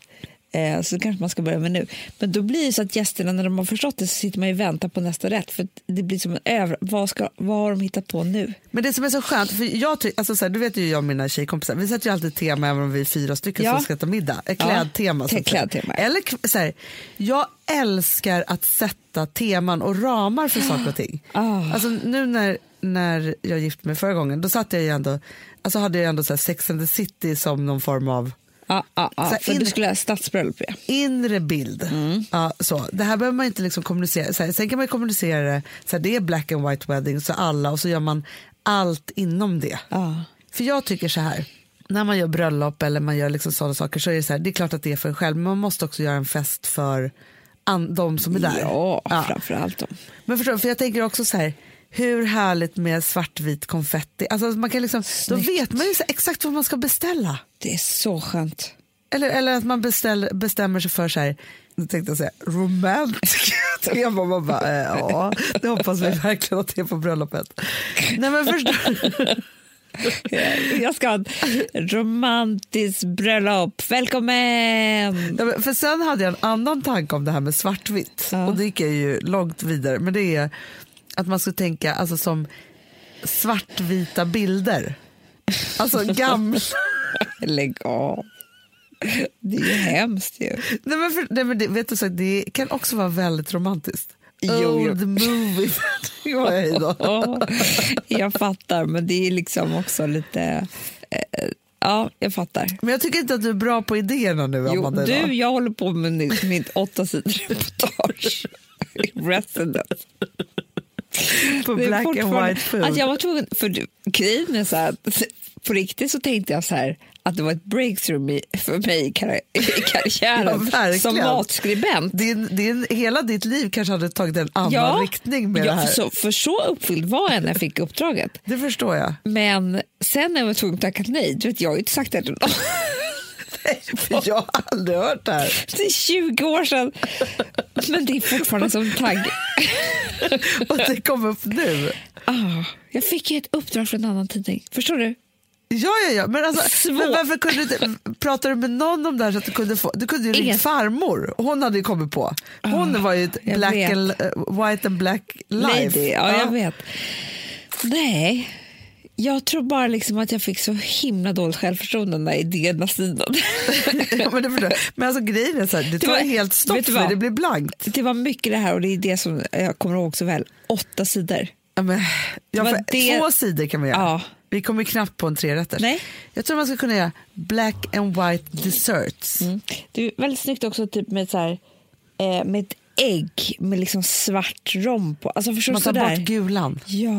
Speaker 3: Eh, så kanske man ska börja med nu. Men då blir det så att gästerna när de har förstått det så sitter man ju och väntar på nästa rätt. För att det blir som en över... Vad, ska... Vad har de hittat på nu?
Speaker 1: Men det som är så skönt, för jag ty- alltså, så här, du vet ju jag och mina tjejkompisar, vi sätter ju alltid tema även om vi är fyra stycken
Speaker 3: Ja.
Speaker 1: som ska äta middag. Ett
Speaker 3: Ja,
Speaker 1: klädtema. så att säga.
Speaker 3: klädtema.
Speaker 1: Eller k- så här, jag älskar att sätta teman och ramar för saker och ting.
Speaker 3: Ah.
Speaker 1: Alltså nu när, när jag gifte mig förra gången, då satte jag ju ändå, alltså hade jag ändå så här Sex and the City som någon form av
Speaker 3: Ja, ja,
Speaker 1: Så
Speaker 3: ja.
Speaker 1: här
Speaker 3: Ah, För
Speaker 1: in-
Speaker 3: du skulle ha stadsbröllop ja.
Speaker 1: inre bild.
Speaker 3: Mm.
Speaker 1: Ja, så. Det här behöver man inte liksom kommunicera. Så här, sen kan man ju kommunicera det, så här, det är black and white wedding, så alla och så gör man allt inom det.
Speaker 3: Ja.
Speaker 1: För jag tycker så här, när man gör bröllop eller man gör liksom sådana saker så är det så här, det är klart att det är för en själv, men man måste också göra en fest för an- de som är där. Ah.
Speaker 3: Ja, framförallt dem.
Speaker 1: Men förstår du, för jag tänker också så här, hur härligt med svartvit konfetti. Alltså man kan liksom, då
Speaker 3: Snyggt.
Speaker 1: vet man ju så här exakt vad man ska beställa.
Speaker 3: Det är så skönt.
Speaker 1: Eller, eller att man beställ, bestämmer sig för så här, nu tänkte jag säga romantic tema. Man bara, eh, ja, det hoppas vi verkligen att det är på bröllopet. Nej men förstår du?
Speaker 3: Eh, Jag ska ha ett romantiskt bröllop. Välkommen!
Speaker 1: Ja, men för sen hade jag en annan tanke om det här med svartvitt
Speaker 3: Ja.
Speaker 1: och det gick jag ju långt vidare. Men det är att man skulle tänka alltså, som svartvita bilder. Alltså gamla.
Speaker 3: Lägg av. Det är ju hemskt ju.
Speaker 1: nej, men för, nej, men det, vet du, så, det kan också vara väldigt romantiskt.
Speaker 3: Jo, jo.
Speaker 1: Old movie. Det var jag idag.
Speaker 3: Ja, jag fattar, men det är liksom också lite... Eh, ja, jag fattar.
Speaker 1: Men jag tycker inte att du är bra på idéerna nu,
Speaker 3: Jo,
Speaker 1: Amanda. idag.
Speaker 3: du, jag håller på med mitt, mitt åtta sidor reportage. Resident.
Speaker 1: på
Speaker 3: Det är
Speaker 1: black and
Speaker 3: fortfarande-
Speaker 1: white food.
Speaker 3: Alltså jag var tvungen, för du- grejen är så här, att på riktigt så tänkte jag så här att det var ett breakthrough i- för mig i kar- i karriären
Speaker 1: Ja, verkligen.
Speaker 3: som matskribent.
Speaker 1: din, din, hela ditt liv kanske hade tagit en annan riktning med
Speaker 3: ja,
Speaker 1: det här.
Speaker 3: För så, för så uppfylld var jag när jag fick uppdraget.
Speaker 1: Det förstår jag.
Speaker 3: Men sen när jag var tvungen att tacka nej, du vet, jag har ju inte sagt det till någon.
Speaker 1: För jag har aldrig hört det här.
Speaker 3: Det är 20 år sedan, men det är fortfarande som tagg.
Speaker 1: Och det kom upp nu.
Speaker 3: Ah, jag fick ju ett uppdrag från en annan tidning. Förstår du?
Speaker 1: Ja, ja, ja. Men, alltså,
Speaker 3: Svårt.
Speaker 1: men varför kunde du inte, pratade du med någon om det här så att du kunde få, du kunde ju
Speaker 3: Ingen. Ah,
Speaker 1: ringt farmor. Hon hade ju kommit på. Hon var ju ett
Speaker 3: jag
Speaker 1: black
Speaker 3: vet.
Speaker 1: and, eh, white and black life.
Speaker 3: Lady, ja, jag vet. Nej, jag tror bara liksom att jag fick så himla dåligt självförtroende när idén sidan.
Speaker 1: Ja, men, det förstår jag. men alltså grejen är så här, det tar
Speaker 3: var-
Speaker 1: helt stopp
Speaker 3: vet du
Speaker 1: för
Speaker 3: vad?
Speaker 1: det blir blankt.
Speaker 3: Det var mycket det här och det är det som jag kommer ihåg så väl. Åtta sidor.
Speaker 1: Ja, men, ja,
Speaker 3: var
Speaker 1: för
Speaker 3: det-
Speaker 1: Två sidor kan man göra.
Speaker 3: Ja.
Speaker 1: Vi kommer knappt på en trerätters.
Speaker 3: Nej.
Speaker 1: Jag tror man ska kunna göra black and white desserts.
Speaker 3: Mm. Det är väldigt snyggt också typ med, så här, eh, med ett ägg med liksom svart rom på. Alltså förstår
Speaker 1: Man
Speaker 3: du?
Speaker 1: tar
Speaker 3: sådär?
Speaker 1: bort gulan
Speaker 3: Ja,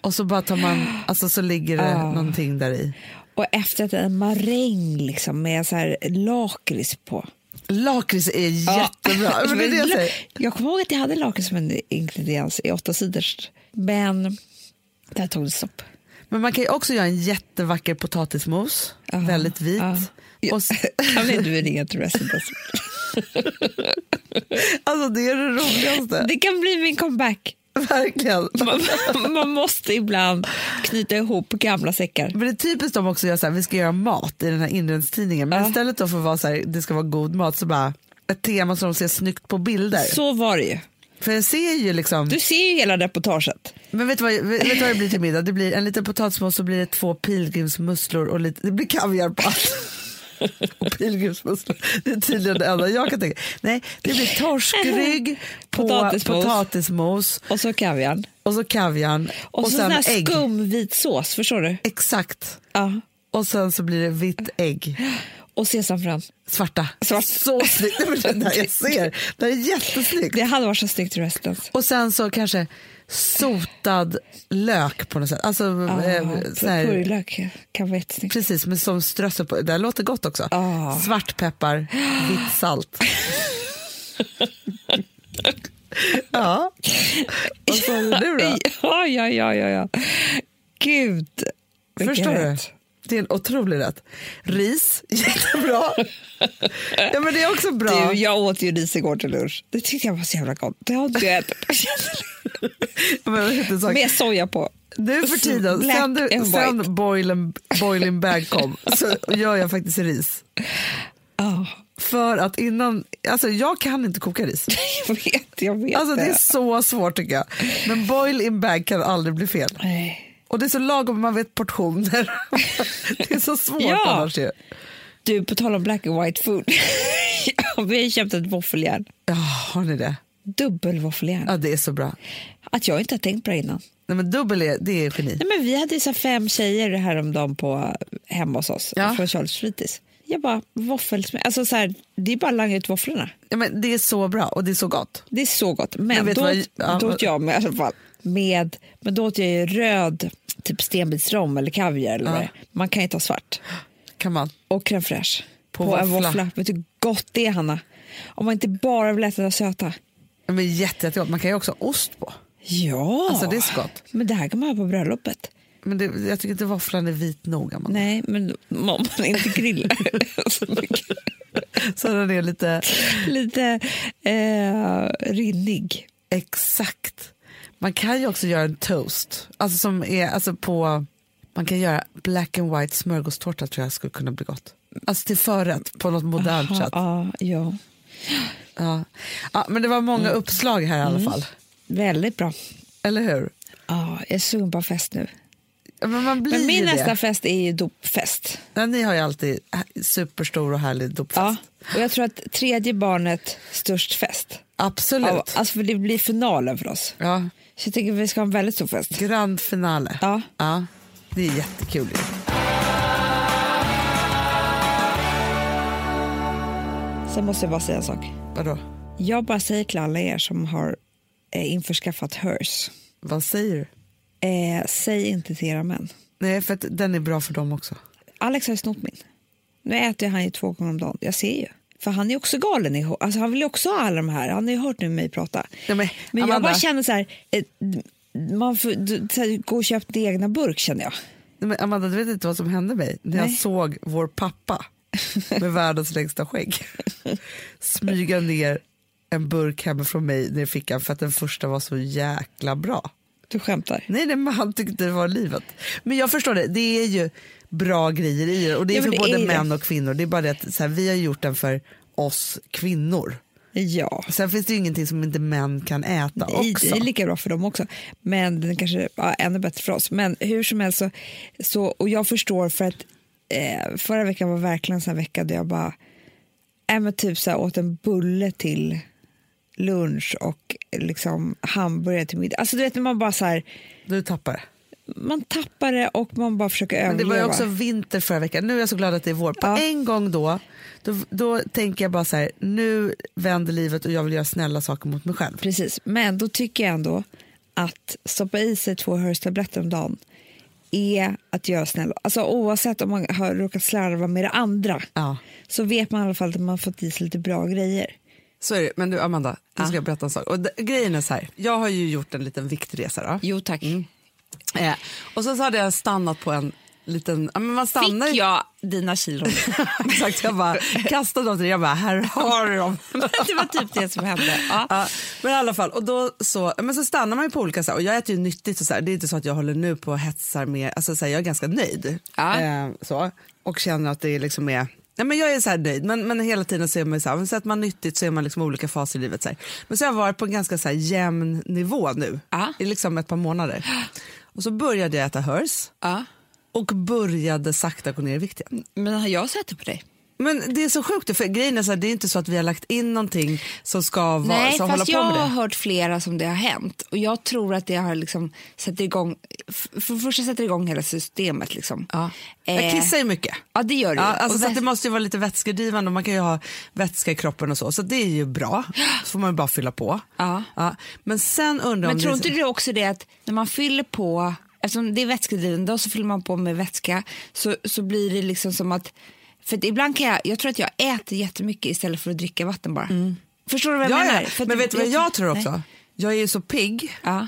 Speaker 1: och så bara tar man, alltså så ligger det
Speaker 3: Ja.
Speaker 1: någonting där i.
Speaker 3: och efter att en maräng liksom med så här lakrits på.
Speaker 1: Lakrits är jättebra.
Speaker 3: Ja.
Speaker 1: Men det är det jag
Speaker 3: la-
Speaker 1: säger.
Speaker 3: jag kommer ihåg att jag hade lakrits som en ingrediens i åtta sidor. Men där tog det stopp.
Speaker 1: Men man kan ju också göra en jättevacker potatismos,
Speaker 3: Ja,
Speaker 1: väldigt vit.
Speaker 3: ja. Ja.
Speaker 1: Och, s-
Speaker 3: Kan vi inte ringa till resten? alltså?
Speaker 1: alltså det är det roligaste,
Speaker 3: Det kan bli min comeback.
Speaker 1: verkligen.
Speaker 3: Man, man måste ibland knyta ihop gamla säckar.
Speaker 1: Men det är typiskt de också gör så här, vi ska göra mat i den här inredningstidningen. Men
Speaker 3: Ja.
Speaker 1: istället då för att vara så här, det ska vara god mat så bara ett tema som de ser snyggt på bilder.
Speaker 3: Så var det ju.
Speaker 1: För jag ser ju liksom,
Speaker 3: Du ser ju hela reportaget.
Speaker 1: men vet du, vad, vet vet du vad det blir till middag? Det blir en liten potatismos så blir det två pilgrimsmusslor och lite, det blir kaviar på allt. Och pilgrimsmusslor, det är tydligen det enda jag kan tänka. Nej, det blir torskrygg på
Speaker 3: Potatismos.
Speaker 1: potatismos,
Speaker 3: Och så kaviarn.
Speaker 1: och så kaviarn
Speaker 3: Och,
Speaker 1: och,
Speaker 3: så sån
Speaker 1: sen
Speaker 3: här
Speaker 1: ägg.
Speaker 3: skumvit sås, förstår du?
Speaker 1: Exakt.
Speaker 3: Ja.
Speaker 1: Och sen så blir det vitt ägg.
Speaker 3: Och sesamfrön.
Speaker 1: Svarta.
Speaker 3: Svart.
Speaker 1: Så snyggt. Nej, men det där jag ser. Det här är jättesnyggt.
Speaker 3: Det hade varit så snyggt i Residence.
Speaker 1: Och sen så kanske sotad lök på något sätt. Alltså,
Speaker 3: Ah,
Speaker 1: eh,
Speaker 3: Ja,
Speaker 1: så här,
Speaker 3: Purjolök kan vara jättesnyggt.
Speaker 1: precis, men som strössel på. Det här låter gott också.
Speaker 3: Ja.
Speaker 1: Svartpeppar, vitt salt. ja. Vad sa du nu då?
Speaker 3: Ja, ja, ja, ja, ja. Gud. vilken
Speaker 1: Förstår du?
Speaker 3: rätt.
Speaker 1: Det är en otrolig rätt. Ris, jättebra. ja, men det är också bra.
Speaker 3: Du, jag åt ju ris igår till lunch. Det tyckte jag var så jävla gott. Det har inte jag ätit på
Speaker 1: Ja, men, vad heter det?
Speaker 3: Med soja på.
Speaker 1: Nu för tiden,
Speaker 3: Black
Speaker 1: sen, du,
Speaker 3: and
Speaker 1: sen boiling, boiling bag kom, så gör jag faktiskt ris.
Speaker 3: Ja,
Speaker 1: För att innan, alltså jag kan inte koka ris.
Speaker 3: jag vet, jag vet
Speaker 1: Alltså det är
Speaker 3: det.
Speaker 1: så svårt tycker jag. Men boil in bag kan aldrig bli fel.
Speaker 3: Nej.
Speaker 1: Och det är så lagom, man vet portioner. Det är så svårt
Speaker 3: Ja.
Speaker 1: annars ju.
Speaker 3: Du, på tal om black and white food. Ja, Vi har ju köpt ett våffeljärn.
Speaker 1: Ja, har ni det?
Speaker 3: Dubbelvåffeljärn.
Speaker 1: Ja, det är så bra.
Speaker 3: Att jag inte har tänkt på det innan.
Speaker 1: Nej men dubbel är, det är geni.
Speaker 3: Nej, men vi hade ju så här fem tjejer häromdagen på, hemma hos oss
Speaker 1: Ja.
Speaker 3: från Charles fritids. Jag bara, våffelsmör. Alltså så här, det är bara att langa ut våfflorna.
Speaker 1: Ja, men det är så bra och det är så gott.
Speaker 3: Det är så gott. Men
Speaker 1: Jag vet
Speaker 3: då,
Speaker 1: vad-
Speaker 3: åt-
Speaker 1: ja,
Speaker 3: då
Speaker 1: vad-
Speaker 3: åt jag med i alla fall. Med, men då åt jag ju röd, typ stenbitsrom eller kaviar eller vad det är. Man kan ju ta svart.
Speaker 1: Kan man.
Speaker 3: Och crème fraîche. På,
Speaker 1: På
Speaker 3: en
Speaker 1: våffla.
Speaker 3: våffla. Vet du hur gott det är Hanna? Om man inte bara vill äta det söta.
Speaker 1: Ja, Men jätte, jättegott. Man kan ju också ha ost på.
Speaker 3: Ja.
Speaker 1: Alltså, det är så gott.
Speaker 3: Men det här kan man ha på bröllopet.
Speaker 1: Men det, jag tycker inte våfflan är vit nog. Amanda.
Speaker 3: Nej, men om man inte grillar så mycket.
Speaker 1: Så den är lite...
Speaker 3: Lite eh, rinnig.
Speaker 1: Exakt. Man kan ju också göra en toast. Alltså som är alltså på... Man kan göra black and white smörgåstårta tror jag skulle kunna bli gott. Alltså till förrätt på något modernt
Speaker 3: Ja,
Speaker 1: sätt.
Speaker 3: ja, ja,
Speaker 1: Ja. Ja, men det var
Speaker 3: Mm.
Speaker 1: många uppslag här i alla fall.
Speaker 3: väldigt bra.
Speaker 1: Eller hur?
Speaker 3: Ja, jag är sugen på fest nu.
Speaker 1: Ja, Men man blir
Speaker 3: Men min
Speaker 1: ju det.
Speaker 3: nästa fest är ju dopfest.
Speaker 1: Ja, ni har ju alltid äh, superstor och härlig dopfest.
Speaker 3: Ja, och jag tror att tredje barnet störst fest.
Speaker 1: Absolut.
Speaker 3: Ja, alltså för det blir finalen för oss.
Speaker 1: Ja.
Speaker 3: Så jag tänker att vi ska ha en väldigt stor fest.
Speaker 1: Grand finale.
Speaker 3: Ja.
Speaker 1: ja. Det är jättekul. ju.
Speaker 3: Sen måste jag bara säga en sak.
Speaker 1: Vadå?
Speaker 3: Jag bara säger till alla er som har eh, införskaffat hers.
Speaker 1: Vad säger du?
Speaker 3: Eh, säg inte till era män.
Speaker 1: Nej, för att den är bra för dem också.
Speaker 3: Alex har ju snott min. Nu äter ju han ju två gånger om dagen. Jag ser ju. För han är ju också galen i hår. Alltså han vill ju också ha alla de här. Han har ju hört nu mig prata.
Speaker 1: Ja, men,
Speaker 3: Men jag
Speaker 1: Amanda.
Speaker 3: bara känner så här. Eh, man får du- så här, gå och köpa din egna burk känner jag.
Speaker 1: Nej, Men Amanda, du vet inte vad som hände mig när
Speaker 3: Nej.
Speaker 1: jag såg vår pappa med världens längsta skägg smyga ner en burk hemifrån mig ner i fickan för att den första var så jäkla bra.
Speaker 3: Du skämtar.
Speaker 1: Nej, nej men han tyckte det var livet. Men jag förstår det, det är ju bra grejer i det och det är
Speaker 3: Ja, men
Speaker 1: för
Speaker 3: det
Speaker 1: både
Speaker 3: är det.
Speaker 1: män och kvinnor. Det är bara det att så här, vi har gjort den för oss kvinnor.
Speaker 3: Ja.
Speaker 1: Sen finns det ju ingenting som inte män kan äta
Speaker 3: Nej,
Speaker 1: också.
Speaker 3: det är lika bra för dem också. Men den kanske ja, ännu bättre för oss. Men hur som helst, så, så, och jag förstår för att eh, förra veckan var verkligen en sån här vecka där jag bara äh, men typ så här, åt en bulle till lunch och liksom hamburgare till middag. Alltså du vet när man bara så här,
Speaker 1: Du tappar det.
Speaker 3: man tappar det och man bara försöker
Speaker 1: Men det
Speaker 3: överleva.
Speaker 1: var ju också vinter förra veckan. Nu är jag så glad att det är vår. På
Speaker 3: Ja.
Speaker 1: en gång då, då, då tänker jag bara så här, nu vänder livet och jag vill göra snälla saker mot mig själv.
Speaker 3: Precis, men då tycker jag ändå att stoppa i sig två hörseltabletter om dagen är att göra snäll. Alltså oavsett om man har råkat slarva med det andra
Speaker 1: Ja.
Speaker 3: så vet man i alla fall att man fått i sig lite bra grejer.
Speaker 1: Så är det. Men du Amanda, nu ska jag berätta en sak. Och d- grejen är så här, jag har ju gjort en liten viktresa då.
Speaker 3: Jo tack.
Speaker 1: Eh, och sen så hade jag stannat på en liten, ja, men man stannar ju-
Speaker 3: jag dina kilon?
Speaker 1: Exakt, jag bara kastade dem till dig, jag bara här har du dem.
Speaker 3: det var typ det som hände. Ja.
Speaker 1: Ja, men i alla fall, och då så, men så stannar man ju på olika sätt. Och jag äter ju nyttigt och så här. Det är inte så att jag håller nu på och hetsar med, alltså så här, jag är ganska nöjd.
Speaker 3: Ja.
Speaker 1: Eh, så. Och känner att det liksom är, nej men jag är så här nöjd. Men, men hela tiden ser man ju så här, men så att man nyttigt så är man liksom i olika faser i livet. Så här. Men så har jag varit på en ganska så här jämn nivå nu.
Speaker 3: Ja.
Speaker 1: I liksom ett par månader. Och så började jag äta hörs.
Speaker 3: Ja.
Speaker 1: Och började sakta gå ner i vikt igen.
Speaker 3: Men har jag sett det på dig?
Speaker 1: Men det är så sjukt, för grejen är så här, det är inte så att vi har lagt in någonting som ska vara,
Speaker 3: Nej,
Speaker 1: som hålla
Speaker 3: fast
Speaker 1: på
Speaker 3: jag
Speaker 1: med det.
Speaker 3: har hört flera som det har hänt. Och jag tror att det har liksom sätter igång, för för det första sätter det igång hela systemet liksom.
Speaker 1: Ja.
Speaker 3: Eh,
Speaker 1: Jag kissar ju mycket.
Speaker 3: Ja, det gör du.
Speaker 1: Ja, alltså,
Speaker 3: Och
Speaker 1: så att
Speaker 3: väs-
Speaker 1: det måste ju vara lite vätskedrivande och man kan ju ha vätska i kroppen och så. Så det är ju bra. Så får man ju bara fylla på.
Speaker 3: Ja.
Speaker 1: Men sen undrar
Speaker 3: Men
Speaker 1: om
Speaker 3: tror
Speaker 1: det...
Speaker 3: inte du också det att när man fyller på, eftersom det är vätskedrivande och så fyller man på med vätska så, så blir det liksom som att, för att ibland kan jag, jag tror att jag äter jättemycket istället för att dricka vatten bara. Förstår du vad jag
Speaker 1: Mm. ja,
Speaker 3: menar?
Speaker 1: ja.
Speaker 3: För att
Speaker 1: Men
Speaker 3: det-
Speaker 1: vet du vad jag tror också? Jag är ju så pigg.
Speaker 3: Ja.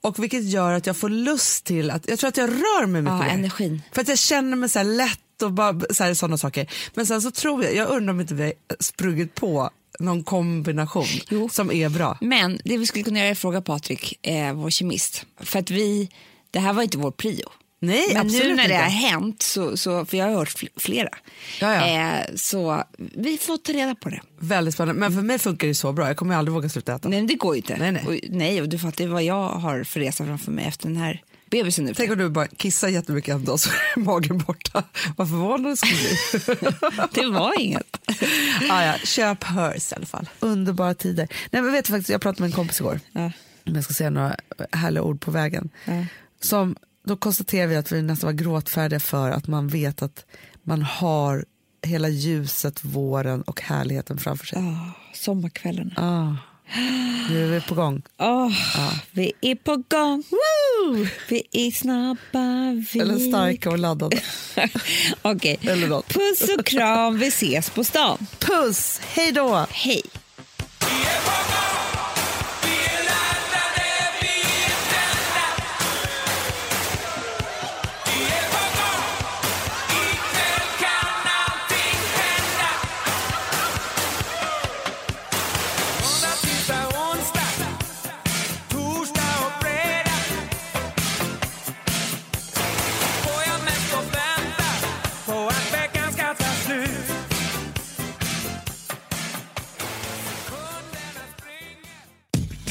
Speaker 1: Och vilket gör att jag får lust till att, jag tror att jag rör mig mycket
Speaker 3: Ja,
Speaker 1: mer.
Speaker 3: energin.
Speaker 1: För att jag känner mig så här lätt och bara, så här, sådana saker. Men sen så tror jag, jag undrar om inte vi har sprungit på någon kombination
Speaker 3: Jo.
Speaker 1: som är bra.
Speaker 3: Men det vi skulle kunna göra är att fråga Patrik, eh, vår kemist, för att vi, det här var inte vår prio.
Speaker 1: Nej,
Speaker 3: Men
Speaker 1: absolut
Speaker 3: nu när det
Speaker 1: inte.
Speaker 3: har hänt, så, så, för jag har hört fl- flera,
Speaker 1: Ja, ja.
Speaker 3: Eh, så vi får ta reda på det.
Speaker 1: Väldigt spännande. Men för mig funkar det så bra, jag kommer aldrig våga sluta äta.
Speaker 3: Nej, men det går ju inte.
Speaker 1: Nej, nej.
Speaker 3: Och, nej, och du fattar ju vad jag har för resa framför mig efter den här bebisen nu.
Speaker 1: Tänk om du bara kissar jättemycket en dag så är magen borta. Vad förvånad du skulle bli.
Speaker 3: Det var inget.
Speaker 1: ah, ja. Köp hörs i alla fall. Underbara tider. Nej, men vet du, faktiskt, jag pratade med en kompis igår,
Speaker 3: Ja.
Speaker 1: om jag ska säga några härliga ord på vägen.
Speaker 3: Ja.
Speaker 1: Som, då konstaterade vi att vi nästan var gråtfärdiga för att man vet att man har hela ljuset, våren och härligheten framför sig.
Speaker 3: Oh, sommarkvällen.
Speaker 1: Ah. Nu är vi på gång.
Speaker 3: Åh, Vi är på gång. Woo! Vi är snabba. Vi...
Speaker 1: Eller starka och laddade.
Speaker 3: Okej.
Speaker 1: Eller något.
Speaker 3: Puss och kram. Vi ses på stan.
Speaker 1: Puss, hej då!
Speaker 3: Hej.
Speaker 5: Måndag, tisdag, onsdag, torsdag och fredag Får jag mest att vänta på att veckan ska ta slut Kunderna springer